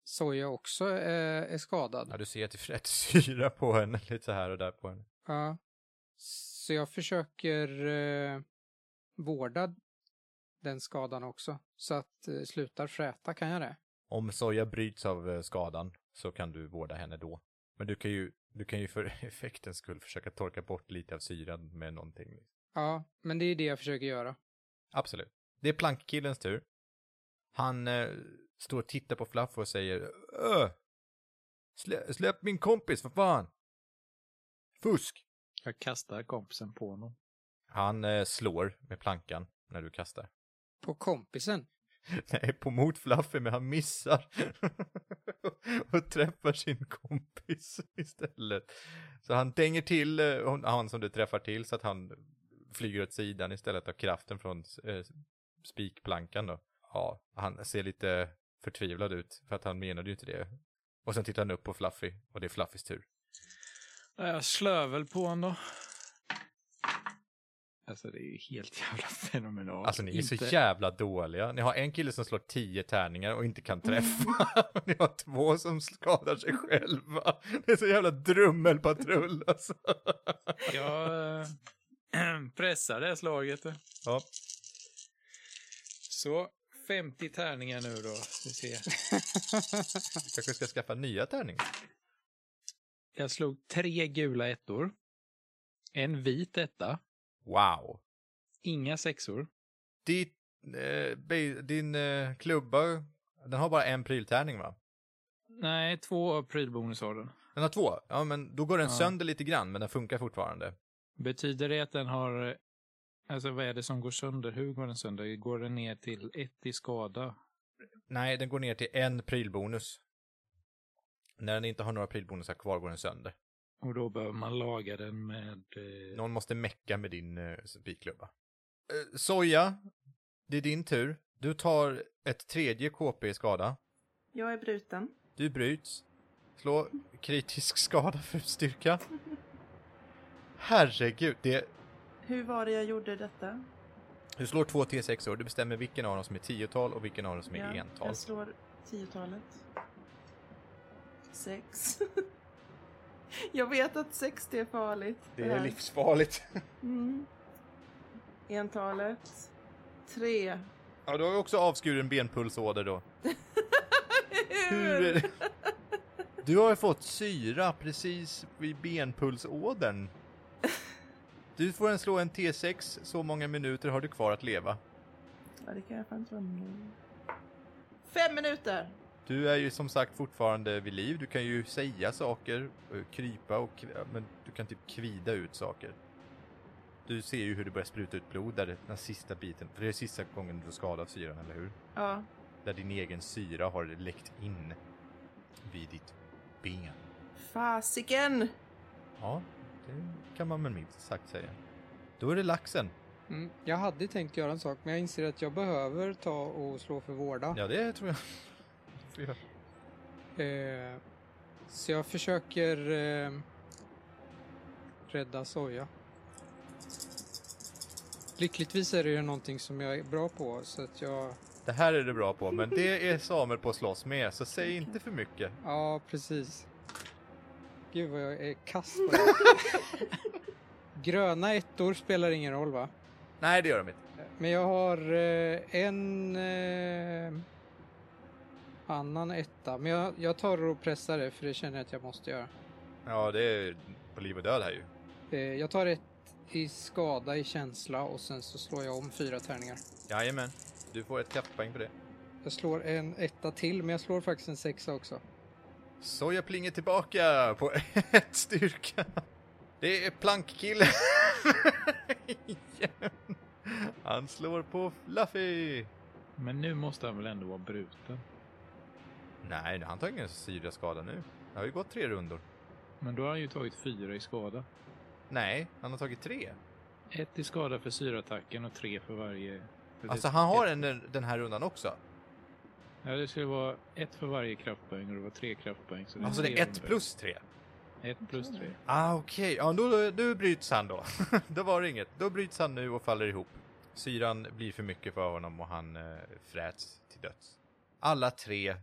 Speaker 3: Soja också eh, är skadad.
Speaker 1: Ja, du ser att det är rätt (laughs) syra på henne, lite så här och där på henne.
Speaker 3: Ja. Så jag försöker eh, vårda den skadan också. Så att eh, slutar fräta kan jag det.
Speaker 1: Om Soja bryts av eh, skadan så kan du vårda henne då. Men du kan ju, du kan ju för (laughs) effektens skull försöka torka bort lite av syran med någonting.
Speaker 3: Ja, men det är det jag försöker göra.
Speaker 1: Absolut. Det är plankkillens tur. Han eh, står och tittar på Fluff och säger Öh! Slä, släpp min kompis, för fan! Fusk!
Speaker 4: Jag kastar kompisen på honom.
Speaker 1: Han eh, slår med plankan när du kastar.
Speaker 3: På kompisen.
Speaker 1: (laughs) Nej, på mot Fluffy, men han missar. (laughs) och träffar sin kompis istället. Så han dänger till eh, hon- han som du träffar till så att han flyger åt sidan istället av kraften från eh, spikplankan då. Ja, han ser lite förtvivlad ut för att han menade ju inte det. Och sen tittar han upp på Fluffy och det är Fluffys tur.
Speaker 4: Jag slår väl på honom då. Alltså det är ju helt jävla fenomenalt.
Speaker 1: Alltså ni är så
Speaker 4: Inte- (laughs)
Speaker 1: jävla dåliga. Ni har en kille som slår tio tärningar och inte
Speaker 4: (laughs)
Speaker 1: kan träffa. (laughs) ni har två som skadar sig själva. Det är så jävla drummelpatrull (laughs) alltså.
Speaker 4: Jag eh, (clears throat) pressar det här slaget.
Speaker 1: Ja.
Speaker 4: Så 50 tärningar nu då. Vi ser.
Speaker 1: Kanske ska skaffa nya tärningar.
Speaker 4: Jag slog tre gula ettor. En vit etta.
Speaker 1: Wow.
Speaker 4: Inga sexor.
Speaker 1: Ditt, eh, be- din eh, klubba, den har bara en pryltärning va?
Speaker 4: Nej, två av prylbonus har den.
Speaker 1: Den har två. Ja men då går den
Speaker 4: Ja.
Speaker 1: sönder lite grann men den funkar fortfarande.
Speaker 4: Betyder det att den har... eh, Alltså vad är det som går sönder? Hur går den sönder? Går den ner till ett i skada?
Speaker 1: Nej, den går ner till en prylbonus. När den inte har några prylbonusar kvar går den sönder.
Speaker 4: Och då behöver man laga den med... Eh,
Speaker 1: Någon måste mecka med din uh, spikklubba. Eh, soja, det är din tur. Du tar ett tredje KP i skada.
Speaker 2: Jag är bruten.
Speaker 1: Du bryts. Slå kritisk (laughs) skada för styrka. Herregud, det...
Speaker 2: Hur var det jag gjorde detta?
Speaker 1: Du slår två T6 och du bestämmer vilken av dem som är tiotal och vilken av dem som är
Speaker 2: Ja,
Speaker 1: ental.
Speaker 2: Jag slår tiotalet. Sex. (laughs) jag vet att sex det är farligt. här.
Speaker 1: livsfarligt.
Speaker 2: Mm. Entalet. Tre.
Speaker 1: Ja, du har ju också avskuren benpulsåder då. Hur är det? Du har ju fått syra precis vid benpulsådern. Du får en slå en T6, så många minuter har du kvar att leva.
Speaker 2: Ja, det kan jag fan inte vara med. Fem minuter!
Speaker 1: Du är ju som sagt fortfarande vid liv, du kan ju säga saker, eh, krypa och kv- men du kan typ kvida ut saker. Du ser ju hur det börjar spruta ut blod där det- den sista biten, för det är sista gången du får skada av syran, eller hur?
Speaker 2: Ja,
Speaker 1: Där din egen syra har läckt in vid ditt ben.
Speaker 2: fasiken!
Speaker 1: Ja, det kan man väl minst sagt säga. Då är det laxen.
Speaker 3: Mm. Jag hade tänkt göra en sak, men jag inser att jag behöver ta och slå för vårda.
Speaker 1: Ja, det tror jag. Får jag-
Speaker 3: Eh, så jag försöker eh, rädda soja. Lyckligtvis är det ju någonting som jag är bra på, så att jag...
Speaker 1: Det här är du bra på, men det är Samuel på att slåss med, så säg inte för mycket.
Speaker 3: Ja, precis. Gud vad jag är kass på det. Gröna ettor spelar ingen roll va?
Speaker 1: Nej, det gör de inte.
Speaker 3: Men jag har eh, en eh, annan etta. Men jag, jag tar och pressar det för det känner jag att jag måste göra.
Speaker 1: Ja, det är på liv och död här ju.
Speaker 3: Eh, jag tar ett i skada i känsla och sen så slår jag om fyra tärningar.
Speaker 1: Jajamän, du får ett kapppoäng på det.
Speaker 3: Jag slår en etta till men jag slår faktiskt en sexa också.
Speaker 1: Så jag plingar tillbaka på (laughs) ett styrka. Det är plankkille. (laughs) Igen. Han slår på Fluffy.
Speaker 4: men nu måste han väl ändå vara bruten?
Speaker 1: Nej, han tar ingen syraskada nu. Det har ju gått tre rundor.
Speaker 4: Men då har han ju tagit fyra i skada.
Speaker 1: Nej, han har tagit tre.
Speaker 4: Ett i skada för syraattacken och tre för varje... för
Speaker 1: Alltså
Speaker 4: det-
Speaker 1: han har
Speaker 4: ett-
Speaker 1: en den här rundan också.
Speaker 4: Ja, det skulle vara ett för varje kraftpoäng och det var tre kraftpoäng. Så
Speaker 1: Alltså det
Speaker 4: tre
Speaker 1: är ett
Speaker 4: runder.
Speaker 1: plus tre.
Speaker 4: Ett plus tre.
Speaker 1: Ah okej, ja då, då, då bryts han då. (laughs) då var det inget. Då bryts han nu och faller ihop. Syran blir för mycket för honom och han eh, fräts till döds. Alla tre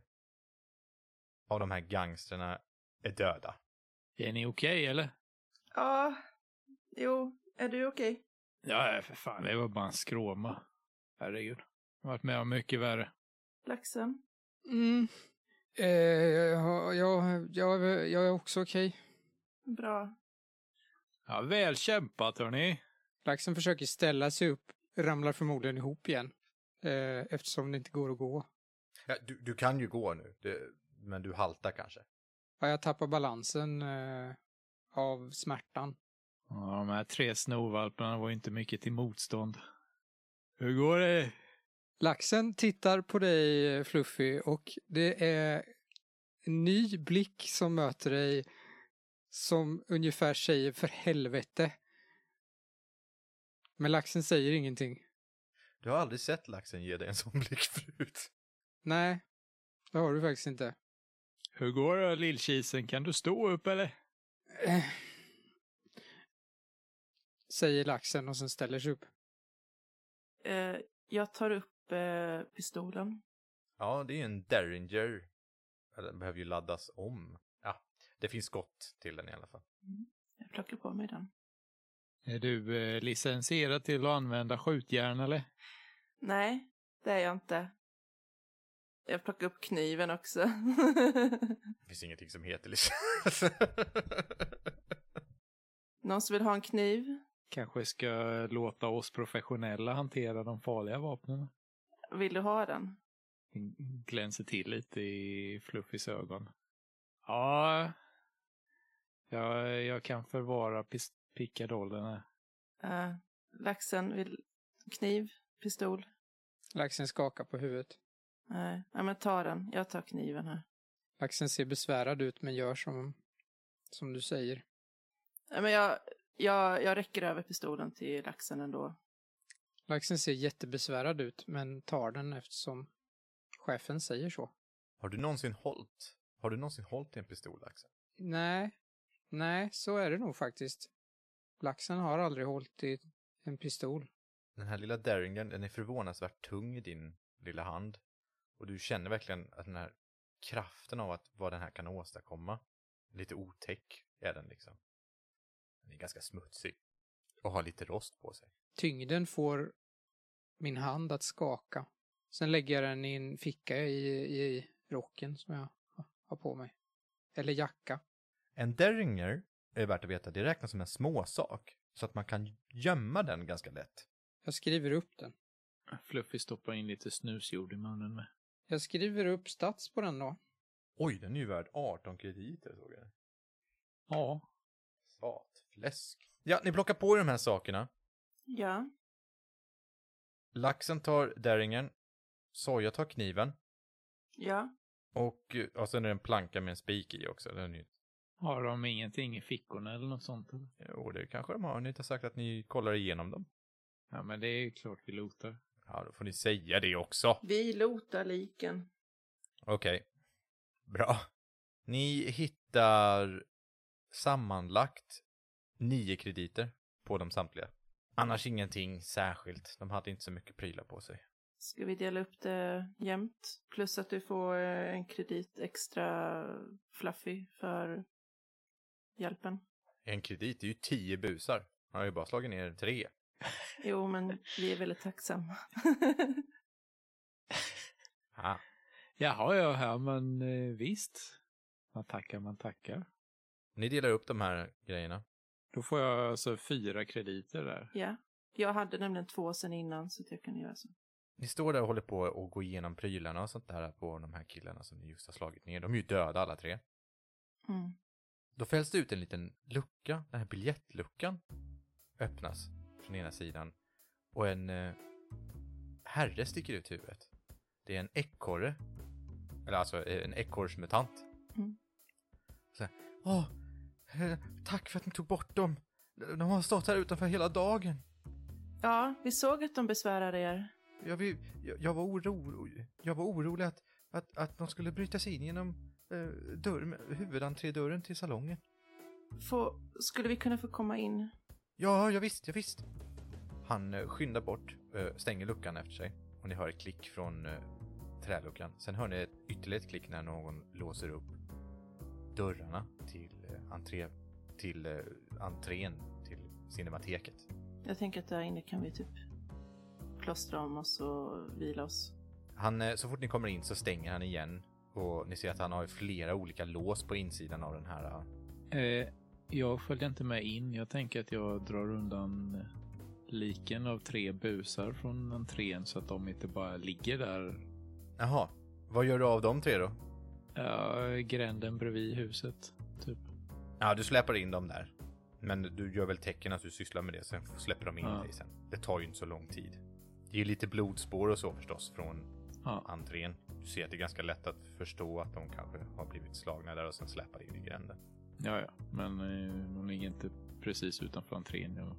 Speaker 1: av de här gangsterna är döda.
Speaker 4: Är ni okej eller?
Speaker 2: Ja, jo, är du okej?
Speaker 4: Ja, för fan. Det var bara en skråma. Herregud. Jag har varit med om mycket värre.
Speaker 2: Laxen?
Speaker 3: Mm. Eh, ja, ja, ja, jag är också okej.
Speaker 2: Bra.
Speaker 4: Ja, väl kämpat hörni.
Speaker 3: Laxen försöker ställa sig upp, ramlar förmodligen ihop igen. Eh, eftersom det inte går att gå.
Speaker 1: Ja, du, du kan ju gå nu, det, men du haltar kanske.
Speaker 3: Ja, jag tappar balansen eh, av smärtan.
Speaker 4: Ja, de här tre snovalparna var ju inte mycket till motstånd. Hur går det?
Speaker 3: Laxen tittar på dig eh, Fluffy och det är en ny blick som möter dig som ungefär säger för helvete. Men laxen säger ingenting.
Speaker 1: Du har aldrig sett laxen ge dig en sån blick förut.
Speaker 3: Nej, det har du faktiskt inte.
Speaker 4: Hur går det lillkisen? Kan du stå upp eller?
Speaker 3: Eh, Säger laxen och sen ställer sig upp.
Speaker 2: Eh, jag tar upp eh, pistolen.
Speaker 1: Ja, det är ju en Derringer. Eller, Den behöver ju laddas om. Ja, det finns skott till den i alla fall.
Speaker 2: Jag plockar på mig den.
Speaker 4: Är du eh, licensierad till att använda skjutjärn eller?
Speaker 2: Nej, det är jag inte. Jag plockar upp kniven också. (laughs)
Speaker 1: Det finns ingenting som heter liksom. licens.
Speaker 2: Någon som vill ha en kniv?
Speaker 4: Kanske ska låta oss professionella hantera de farliga vapnen.
Speaker 2: Vill du ha den?
Speaker 4: glänser till lite i Fluffys ögon. Ja, jag, jag kan förvara pis- pickadollerna.
Speaker 2: Eh, laxen vill kniv, pistol.
Speaker 3: Laxen skakar på huvudet.
Speaker 2: Nej, ja, men ta den. Jag tar kniven här.
Speaker 3: Laxen ser besvärad ut men gör som, som du säger.
Speaker 2: Ja, men jag, jag, jag räcker över pistolen till laxen ändå.
Speaker 3: Laxen ser jättebesvärad ut men tar den eftersom chefen säger så.
Speaker 1: (laughs) Har du någonsin hållt? Har du någonsin hållt i en pistol, Axel?
Speaker 3: Nej, nej, så är det nog faktiskt. Laxen har aldrig hållit i en pistol.
Speaker 1: Den här lilla Derringen, den är förvånansvärt tung i din lilla hand. Och du känner verkligen att den här kraften av att vad den här kan åstadkomma. Lite otäck är den liksom. Den är ganska smutsig. Och har lite rost på sig.
Speaker 3: Tyngden får min hand att skaka. Sen lägger jag den i en ficka i, i rocken som jag har på mig. Eller jacka.
Speaker 1: En Derringer är värt att veta, det räknas som en småsak. Så att man kan gömma den ganska lätt.
Speaker 3: Jag skriver upp den.
Speaker 4: Fluffy stoppar in lite snusjord i munnen med.
Speaker 3: Jag skriver upp stats på den då.
Speaker 1: Oj, den är ju värd 18 krediter såg jag.
Speaker 4: Ja,
Speaker 1: Satfläsk. Ja, ni plockar på er de här sakerna.
Speaker 2: Ja,
Speaker 1: Laxen tar Derringen. Soja tar kniven.
Speaker 2: ja.
Speaker 1: Och, eh, ja, sen är det en planka med en spik i också. Den är, ju-
Speaker 4: har de ingenting i fickorna eller något sånt? Eller?
Speaker 1: jo, det kanske de har. Ni har inte sagt att ni kollar igenom dem.
Speaker 4: Ja, men det är ju klart vi lotar.
Speaker 1: Ja, då får ni säga det också.
Speaker 2: Vi lotar liken.
Speaker 1: Okej. Bra. Ni hittar sammanlagt nio krediter på dem samtliga. Annars ingenting särskilt. De hade inte så mycket prylar på sig.
Speaker 2: Ska vi dela upp det jämnt? Plus att du får eh, en kredit extra fluffy för hjälpen.
Speaker 1: En kredit är ju tio busar. Han har ju bara slagit ner tre.
Speaker 2: Jo, men vi är väldigt tacksamma.
Speaker 1: Ah.
Speaker 4: Jaha, ja, ja, men eh, visst. Man tackar, man tackar.
Speaker 1: Ni delar upp de här grejerna.
Speaker 4: Då får jag alltså fyra krediter där.
Speaker 2: ja, jag hade nämligen två sen innan så att jag kan göra så.
Speaker 1: Ni står där och håller på och går igenom prylarna och sånt där på de här killarna som ni just har slagit ner. De är ju döda alla tre.
Speaker 2: Mm.
Speaker 1: Då fälls det ut en liten lucka. Den här biljettluckan öppnas från ena sidan och en eh, herre sticker ut huvudet. Det är en ekorre. Eller alltså eh, en ekorrsmutant.
Speaker 2: Mm.
Speaker 1: Så här, Åh, eh, tack för att ni tog bort dem. De de har stått här utanför hela dagen.
Speaker 2: Ja, vi såg att de besvärade er.
Speaker 1: Jag, vill, jag, jag, var, oro, jag var orolig att, att, att de skulle bryta sig in genom eh, dörr, huvudentrédörren till salongen.
Speaker 2: Få, skulle vi kunna få komma in?
Speaker 1: Ja, jag visst, jag visst. Han eh, skyndar bort, eh, stänger luckan efter sig och ni hör ett klick från eh, träluckan. Sen hör ni ett, ytterligare ett klick när någon låser upp dörrarna till, eh, entré, till eh, entrén till cinemateket.
Speaker 2: Jag tänker att där inne kan vi typ plåstra om oss och vila oss.
Speaker 1: Han, eh, så fort ni kommer in så stänger han igen och ni ser att han har flera olika lås på insidan av den här. eh,
Speaker 4: Eh, jag följde inte med in. Jag tänker att jag drar undan eh, liken av tre busar från entrén så att de inte bara ligger där
Speaker 1: Jaha, vad gör du av de tre då?
Speaker 4: eh, gränden bredvid huset. Typ.
Speaker 1: Ja, du släpar in dem där. Men du gör väl tecken att du sysslar med det, sen släpper de in
Speaker 4: Ja.
Speaker 1: dig sen. Det tar ju inte så lång tid. Det är ju lite blodspår och så förstås från
Speaker 4: Ja.
Speaker 1: entrén. Du ser att det är ganska lätt att förstå att de kanske har blivit slagna där och sen släpar in i gränden.
Speaker 4: Ja, ja, men eh, de ligger inte precis utanför entrén. Jag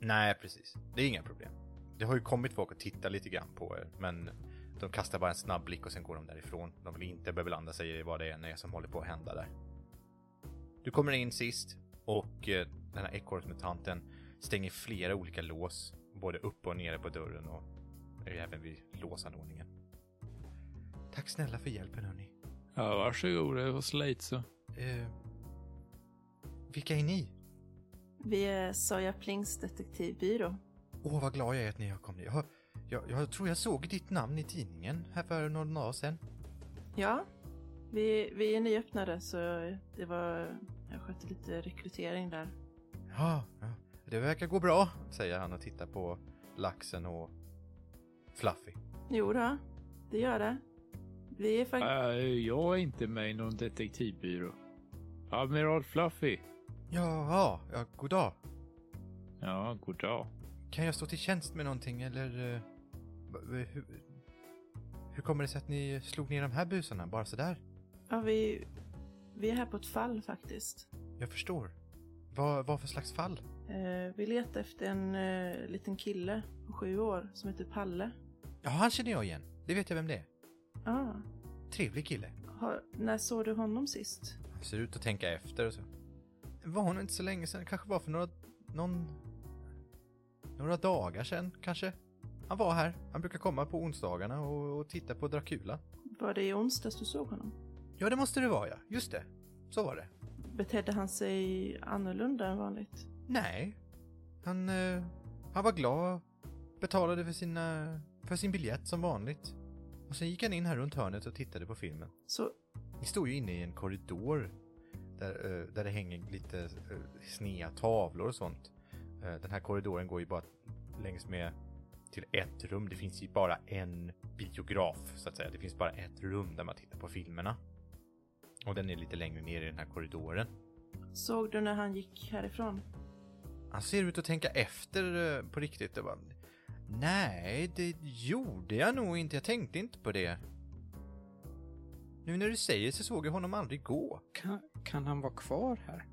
Speaker 1: Nej, precis. Det är inga problem. Det har ju kommit folk och tittat lite grann på er, men de kastar bara en snabb blick och sen går de därifrån. De vill inte beblanda sig i vad det än är som håller på att hända där. Du kommer in sist och eh, den här ekorrsmutanten stänger flera olika lås, både upp och nere på dörren och även vid låsanordningen. Tack snälla för hjälpen hörni.
Speaker 4: Ja, varsågod. Det var slate så.
Speaker 1: Eh, vilka är ni?
Speaker 2: Vi är Soja Plings detektivbyrå.
Speaker 1: Åh, vad glad jag är att ni har kommit. Jag, jag, jag tror jag såg ditt namn i tidningen här för några dagar sedan.
Speaker 2: Ja, vi, vi är nyöppnade så det var... Jag skötte lite rekrytering där.
Speaker 1: Ja, ja, det verkar gå bra, säger han och tittar på laxen och Fluffy.
Speaker 2: Jo då, det gör det. Vi är faktiskt...
Speaker 4: Eh, jag är inte med i någon detektivbyrå. Admiral Fluffy.
Speaker 1: Ja, ja, god dag.
Speaker 4: Ja, god dag.
Speaker 1: Kan jag stå till tjänst med någonting eller? eh, va- va- Hur, hur kommer det sig att ni slog ner de här busarna bara sådär?
Speaker 2: Ja, vi, vi är här på ett fall faktiskt.
Speaker 1: Jag förstår. Vad, vad för slags fall?
Speaker 2: Eh, vi letar efter en eh, liten kille på sju år som heter Palle.
Speaker 1: Ja, han känner jag igen. Det vet jag vem det är.
Speaker 2: Ah,
Speaker 1: Trevlig kille.
Speaker 2: har, när såg du honom sist?
Speaker 1: Han ser ut att tänka efter och så. Var hon inte så länge sedan? Kanske var för några... Någon... Några dagar sedan, kanske? Han var här. Han brukar komma på onsdagarna och, och titta på Dracula.
Speaker 2: Var det i onsdags du såg honom?
Speaker 1: Ja, det måste det vara, ja. Just det. Så var det.
Speaker 2: Betedde han sig annorlunda än vanligt?
Speaker 1: Nej. Han... Eh, han var glad. Betalade för sina... För sin biljett som vanligt. Och sen gick han in här runt hörnet och tittade på filmen.
Speaker 2: Så,
Speaker 1: Ni står ju inne i en korridor där, eh, där det hänger lite uh, snea tavlor och sånt. Eh, den här korridoren går ju bara längs med till ett rum. Det finns ju bara en biograf så att säga. Det finns bara ett rum där man tittar på filmerna. Och den är lite längre ner i den här korridoren.
Speaker 2: såg du när han gick härifrån?
Speaker 1: Han ser ut att tänka efter eh, på riktigt. Det bara, Nej, det gjorde jag nog inte. Jag tänkte inte på det. Nu när du säger så såg jag honom aldrig gå.
Speaker 3: Kan, kan han vara kvar här?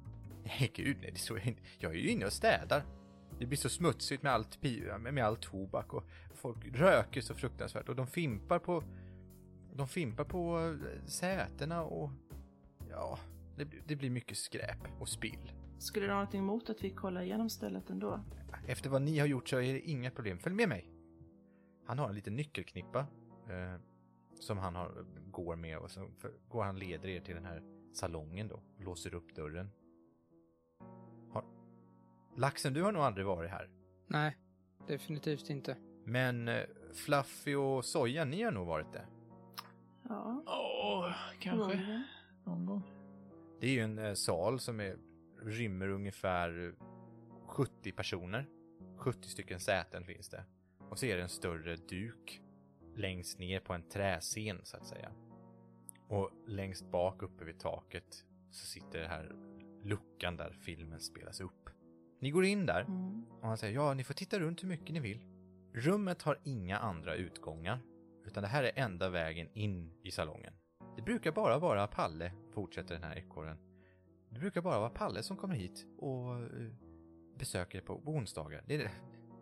Speaker 1: Nej, gud nej, det tror jag inte. Jag är ju inne och städar. Det blir så smutsigt med allt pi- med med all tobak och folk röker så fruktansvärt och de fimpar på de fimpar på eh, sätena och ja, det, blir- det blir mycket skräp och spill.
Speaker 2: Skulle du ha någonting emot att vi kollar igenom stället ändå?
Speaker 1: Efter vad ni har gjort så är det inga problem. Följ med mig. Han har en liten nyckelknippa eh, som han har, går med och så för, går han leder er till den här salongen då. Och låser upp dörren. Har... Laxen, du har nog aldrig varit här.
Speaker 3: Nej, definitivt inte.
Speaker 1: Men eh, Fluffy och Soja, ni har nog varit det.
Speaker 2: Ja,
Speaker 4: Åh, kanske.
Speaker 2: förmodligen.
Speaker 4: Någon gång.
Speaker 1: Det är ju en eh, sal som är, rymmer ungefär eh, 70 personer. 70 stycken säten finns det. Och så är det en större duk längst ner på en träscen så att säga. Och längst bak uppe vid taket så sitter det här luckan där filmen spelas upp. Ni går in där
Speaker 2: Mm.
Speaker 1: och han säger ja, ni får titta runt hur mycket ni vill. Rummet har inga andra utgångar, utan det här är enda vägen in i salongen. Det brukar bara vara Palle, fortsätter den här ekorren. Det brukar bara vara Palle som kommer hit och eh, besöker på onsdagar. Det är,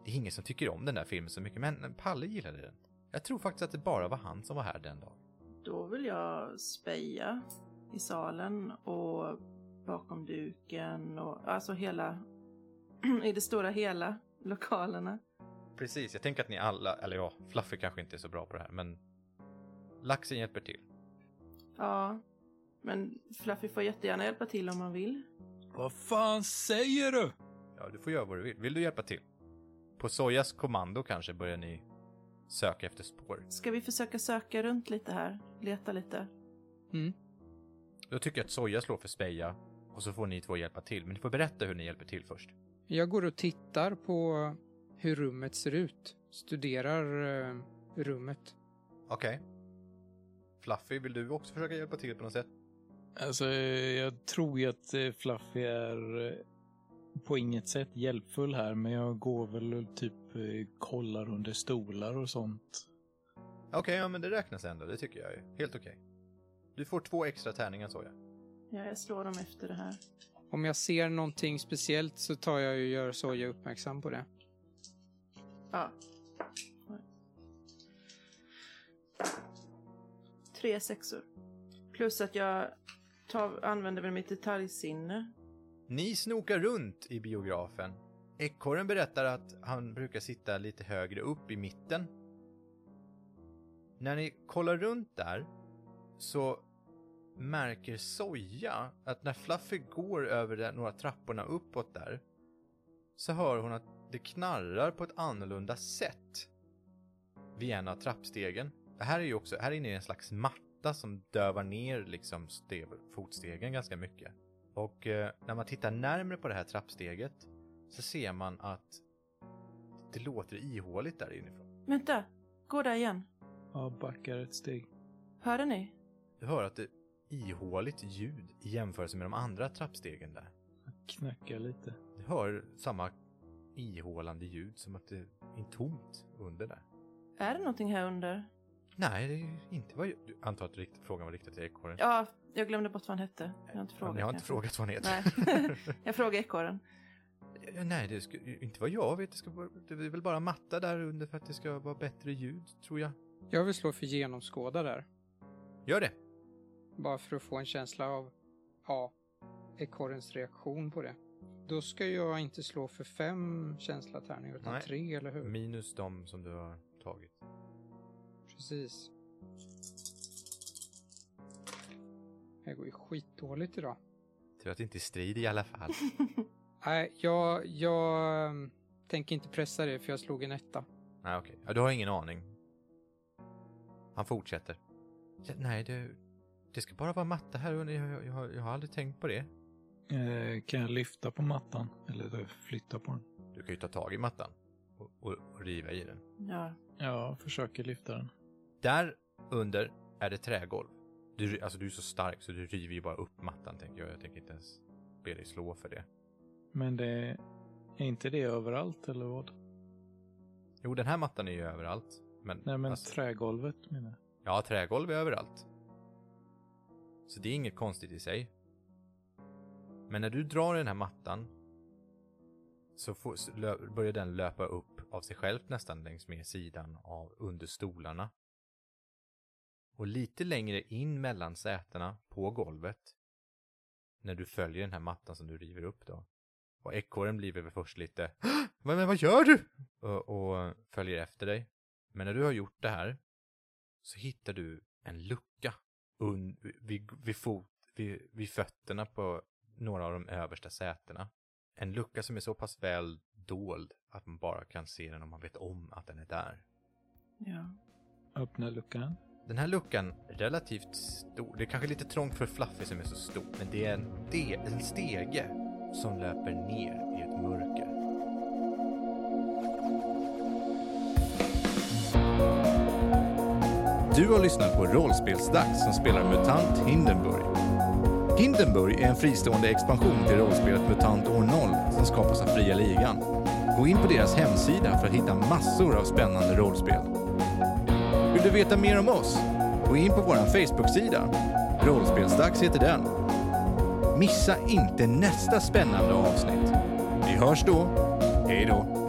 Speaker 1: det är ingen som tycker om den där filmen så mycket, men Palle gillade den. Jag tror faktiskt att det bara var han som var här den dagen.
Speaker 2: Då vill jag speja i salen och bakom duken och alltså hela, (clears throat) i det stora hela, lokalerna.
Speaker 1: Precis, jag tänker att ni alla, eller ja, Fluffy kanske inte är så bra på det här, men laxen hjälper till.
Speaker 2: Ja, men Fluffy får jättegärna hjälpa till om man vill.
Speaker 4: Vad fan säger du?
Speaker 1: Ja, du får göra vad du vill. Vill du hjälpa till? På Sojas kommando kanske börjar ni söka efter spår.
Speaker 2: Ska vi försöka söka runt lite här? Leta lite?
Speaker 3: Mm.
Speaker 1: Då tycker jag att Soja slår för speja och så får ni två hjälpa till. Men ni får berätta hur ni hjälper till först.
Speaker 3: Jag går och tittar på hur rummet ser ut. Studerar eh, rummet.
Speaker 1: Okej. Fluffy, vill du också försöka hjälpa till på något sätt?
Speaker 4: Alltså, eh, jag tror ju att eh, Fluffy är eh, på inget sätt hjälpfull här, men jag går väl och typ eh, kollar under stolar och sånt.
Speaker 1: Okej, ja men det räknas ändå. Det tycker jag är helt okej. Du får två extra tärningar Soja.
Speaker 2: Ja, jag slår dem efter det här.
Speaker 3: Om jag ser någonting speciellt så tar jag och gör Soja uppmärksam på det.
Speaker 2: Ja. Tre sexor. Plus att jag tar, använder väl mitt detaljsinne.
Speaker 1: Ni snokar runt i biografen. Ekorren berättar att han brukar sitta lite högre upp i mitten. När ni kollar runt där så märker Soja att när Fluffy går över de- några trapporna uppåt där så hör hon att det knarrar på ett annorlunda sätt vid en av trappstegen. Det här är ju också, här inne är en slags matta som dövar ner liksom stev, fotstegen ganska mycket. Och eh, när man tittar närmre på det här trappsteget så ser man att det låter ihåligt där inifrån.
Speaker 2: Vänta! Gå där igen.
Speaker 4: Ja, backar ett steg.
Speaker 2: Hörde ni?
Speaker 1: Du hör att det är ihåligt ljud i jämförelse med de andra trappstegen där.
Speaker 4: Knackar lite.
Speaker 1: Du hör samma ihålande ljud som att det är tomt under där.
Speaker 2: Är det någonting här under?
Speaker 1: Nej, det är ju inte vad jag... Du antar att rikt- frågan var riktad till ekorren?
Speaker 2: Ja, jag glömde bort vad han hette. Jag har inte frågat.
Speaker 1: Ni har inte
Speaker 2: kanske.
Speaker 1: frågat vad han
Speaker 2: Nej.
Speaker 1: heter?
Speaker 2: jag frågar ekorren. (laughs)
Speaker 1: Ja, (laughs) Nej, det ska, inte vad jag vet. Det, ska, vara- det är väl bara matta där under för att det ska vara bättre ljud, tror jag.
Speaker 3: Jag vill slå för genomskåda där.
Speaker 1: Gör det!
Speaker 3: Bara för att få en känsla av, ja, ekorrens reaktion på det. Då ska jag inte slå för fem känsla tärningar utan
Speaker 1: Nej.
Speaker 3: tre, eller hur?
Speaker 1: Minus de som du har tagit.
Speaker 3: Precis. Det här går ju skitdåligt idag.
Speaker 1: Tur att det inte är strid i alla fall. (laughs)
Speaker 3: Nej, jag, jag ehm, tänker inte pressa det för jag slog en etta.
Speaker 1: nej, okej. Ja, du har ingen aning. Han fortsätter. Ja, nej, det, det ska bara vara matta här under. Jag, jag, jag, har- jag har aldrig tänkt på det.
Speaker 4: Eh, kan jag lyfta på mattan? Eller eh, flytta på den?
Speaker 1: Du kan ju ta tag i mattan och, och, och riva i den.
Speaker 2: Ja.
Speaker 4: Ja, försöker lyfta den.
Speaker 1: Där under är det trägolv. Du, alltså du är så stark så du river ju bara upp mattan tänker jag. Jag tänker inte ens be dig slå för det.
Speaker 4: Men det... Är inte det överallt eller vad?
Speaker 1: Jo, den här mattan är ju överallt. Men,
Speaker 4: Nej, men
Speaker 1: alltså-
Speaker 4: trägolvet menar jag.
Speaker 1: Ja, trägolv är överallt. Så det är inget konstigt i sig. Men när du drar i den här mattan så får, så lö, börjar den löpa upp av sig själv nästan längs med sidan av under stolarna. Och lite längre in mellan sätena på golvet när du följer den här mattan som du river upp då. Och ekorren blir väl först lite "Vad- Men vad gör du? Och, och följer efter dig. Men när du har gjort det här så hittar du en lucka un, vid, vid, fot, vid, vid fötterna på några av de översta sätena. En lucka som är så pass väl dold att man bara kan se den om man vet om att den är där.
Speaker 2: ja.
Speaker 4: Öppna luckan.
Speaker 1: Den här luckan, relativt stor, det är kanske lite trångt för Fluffy som är så stor, men det är en, de, en stege som löper ner i ett mörker. Du har lyssnat på Rollspelsdags som spelar MUTANT Hindenburg. Hindenburg är en fristående expansion till rollspelet MUTANT år 0 som skapas av Fria Ligan. Gå in på deras hemsida för att hitta massor av spännande rollspel. Vill du veta mer om oss? Gå in på vår Facebook-sida. Rollspelsdags heter den. Missa inte nästa spännande avsnitt. Vi hörs då. Hej då.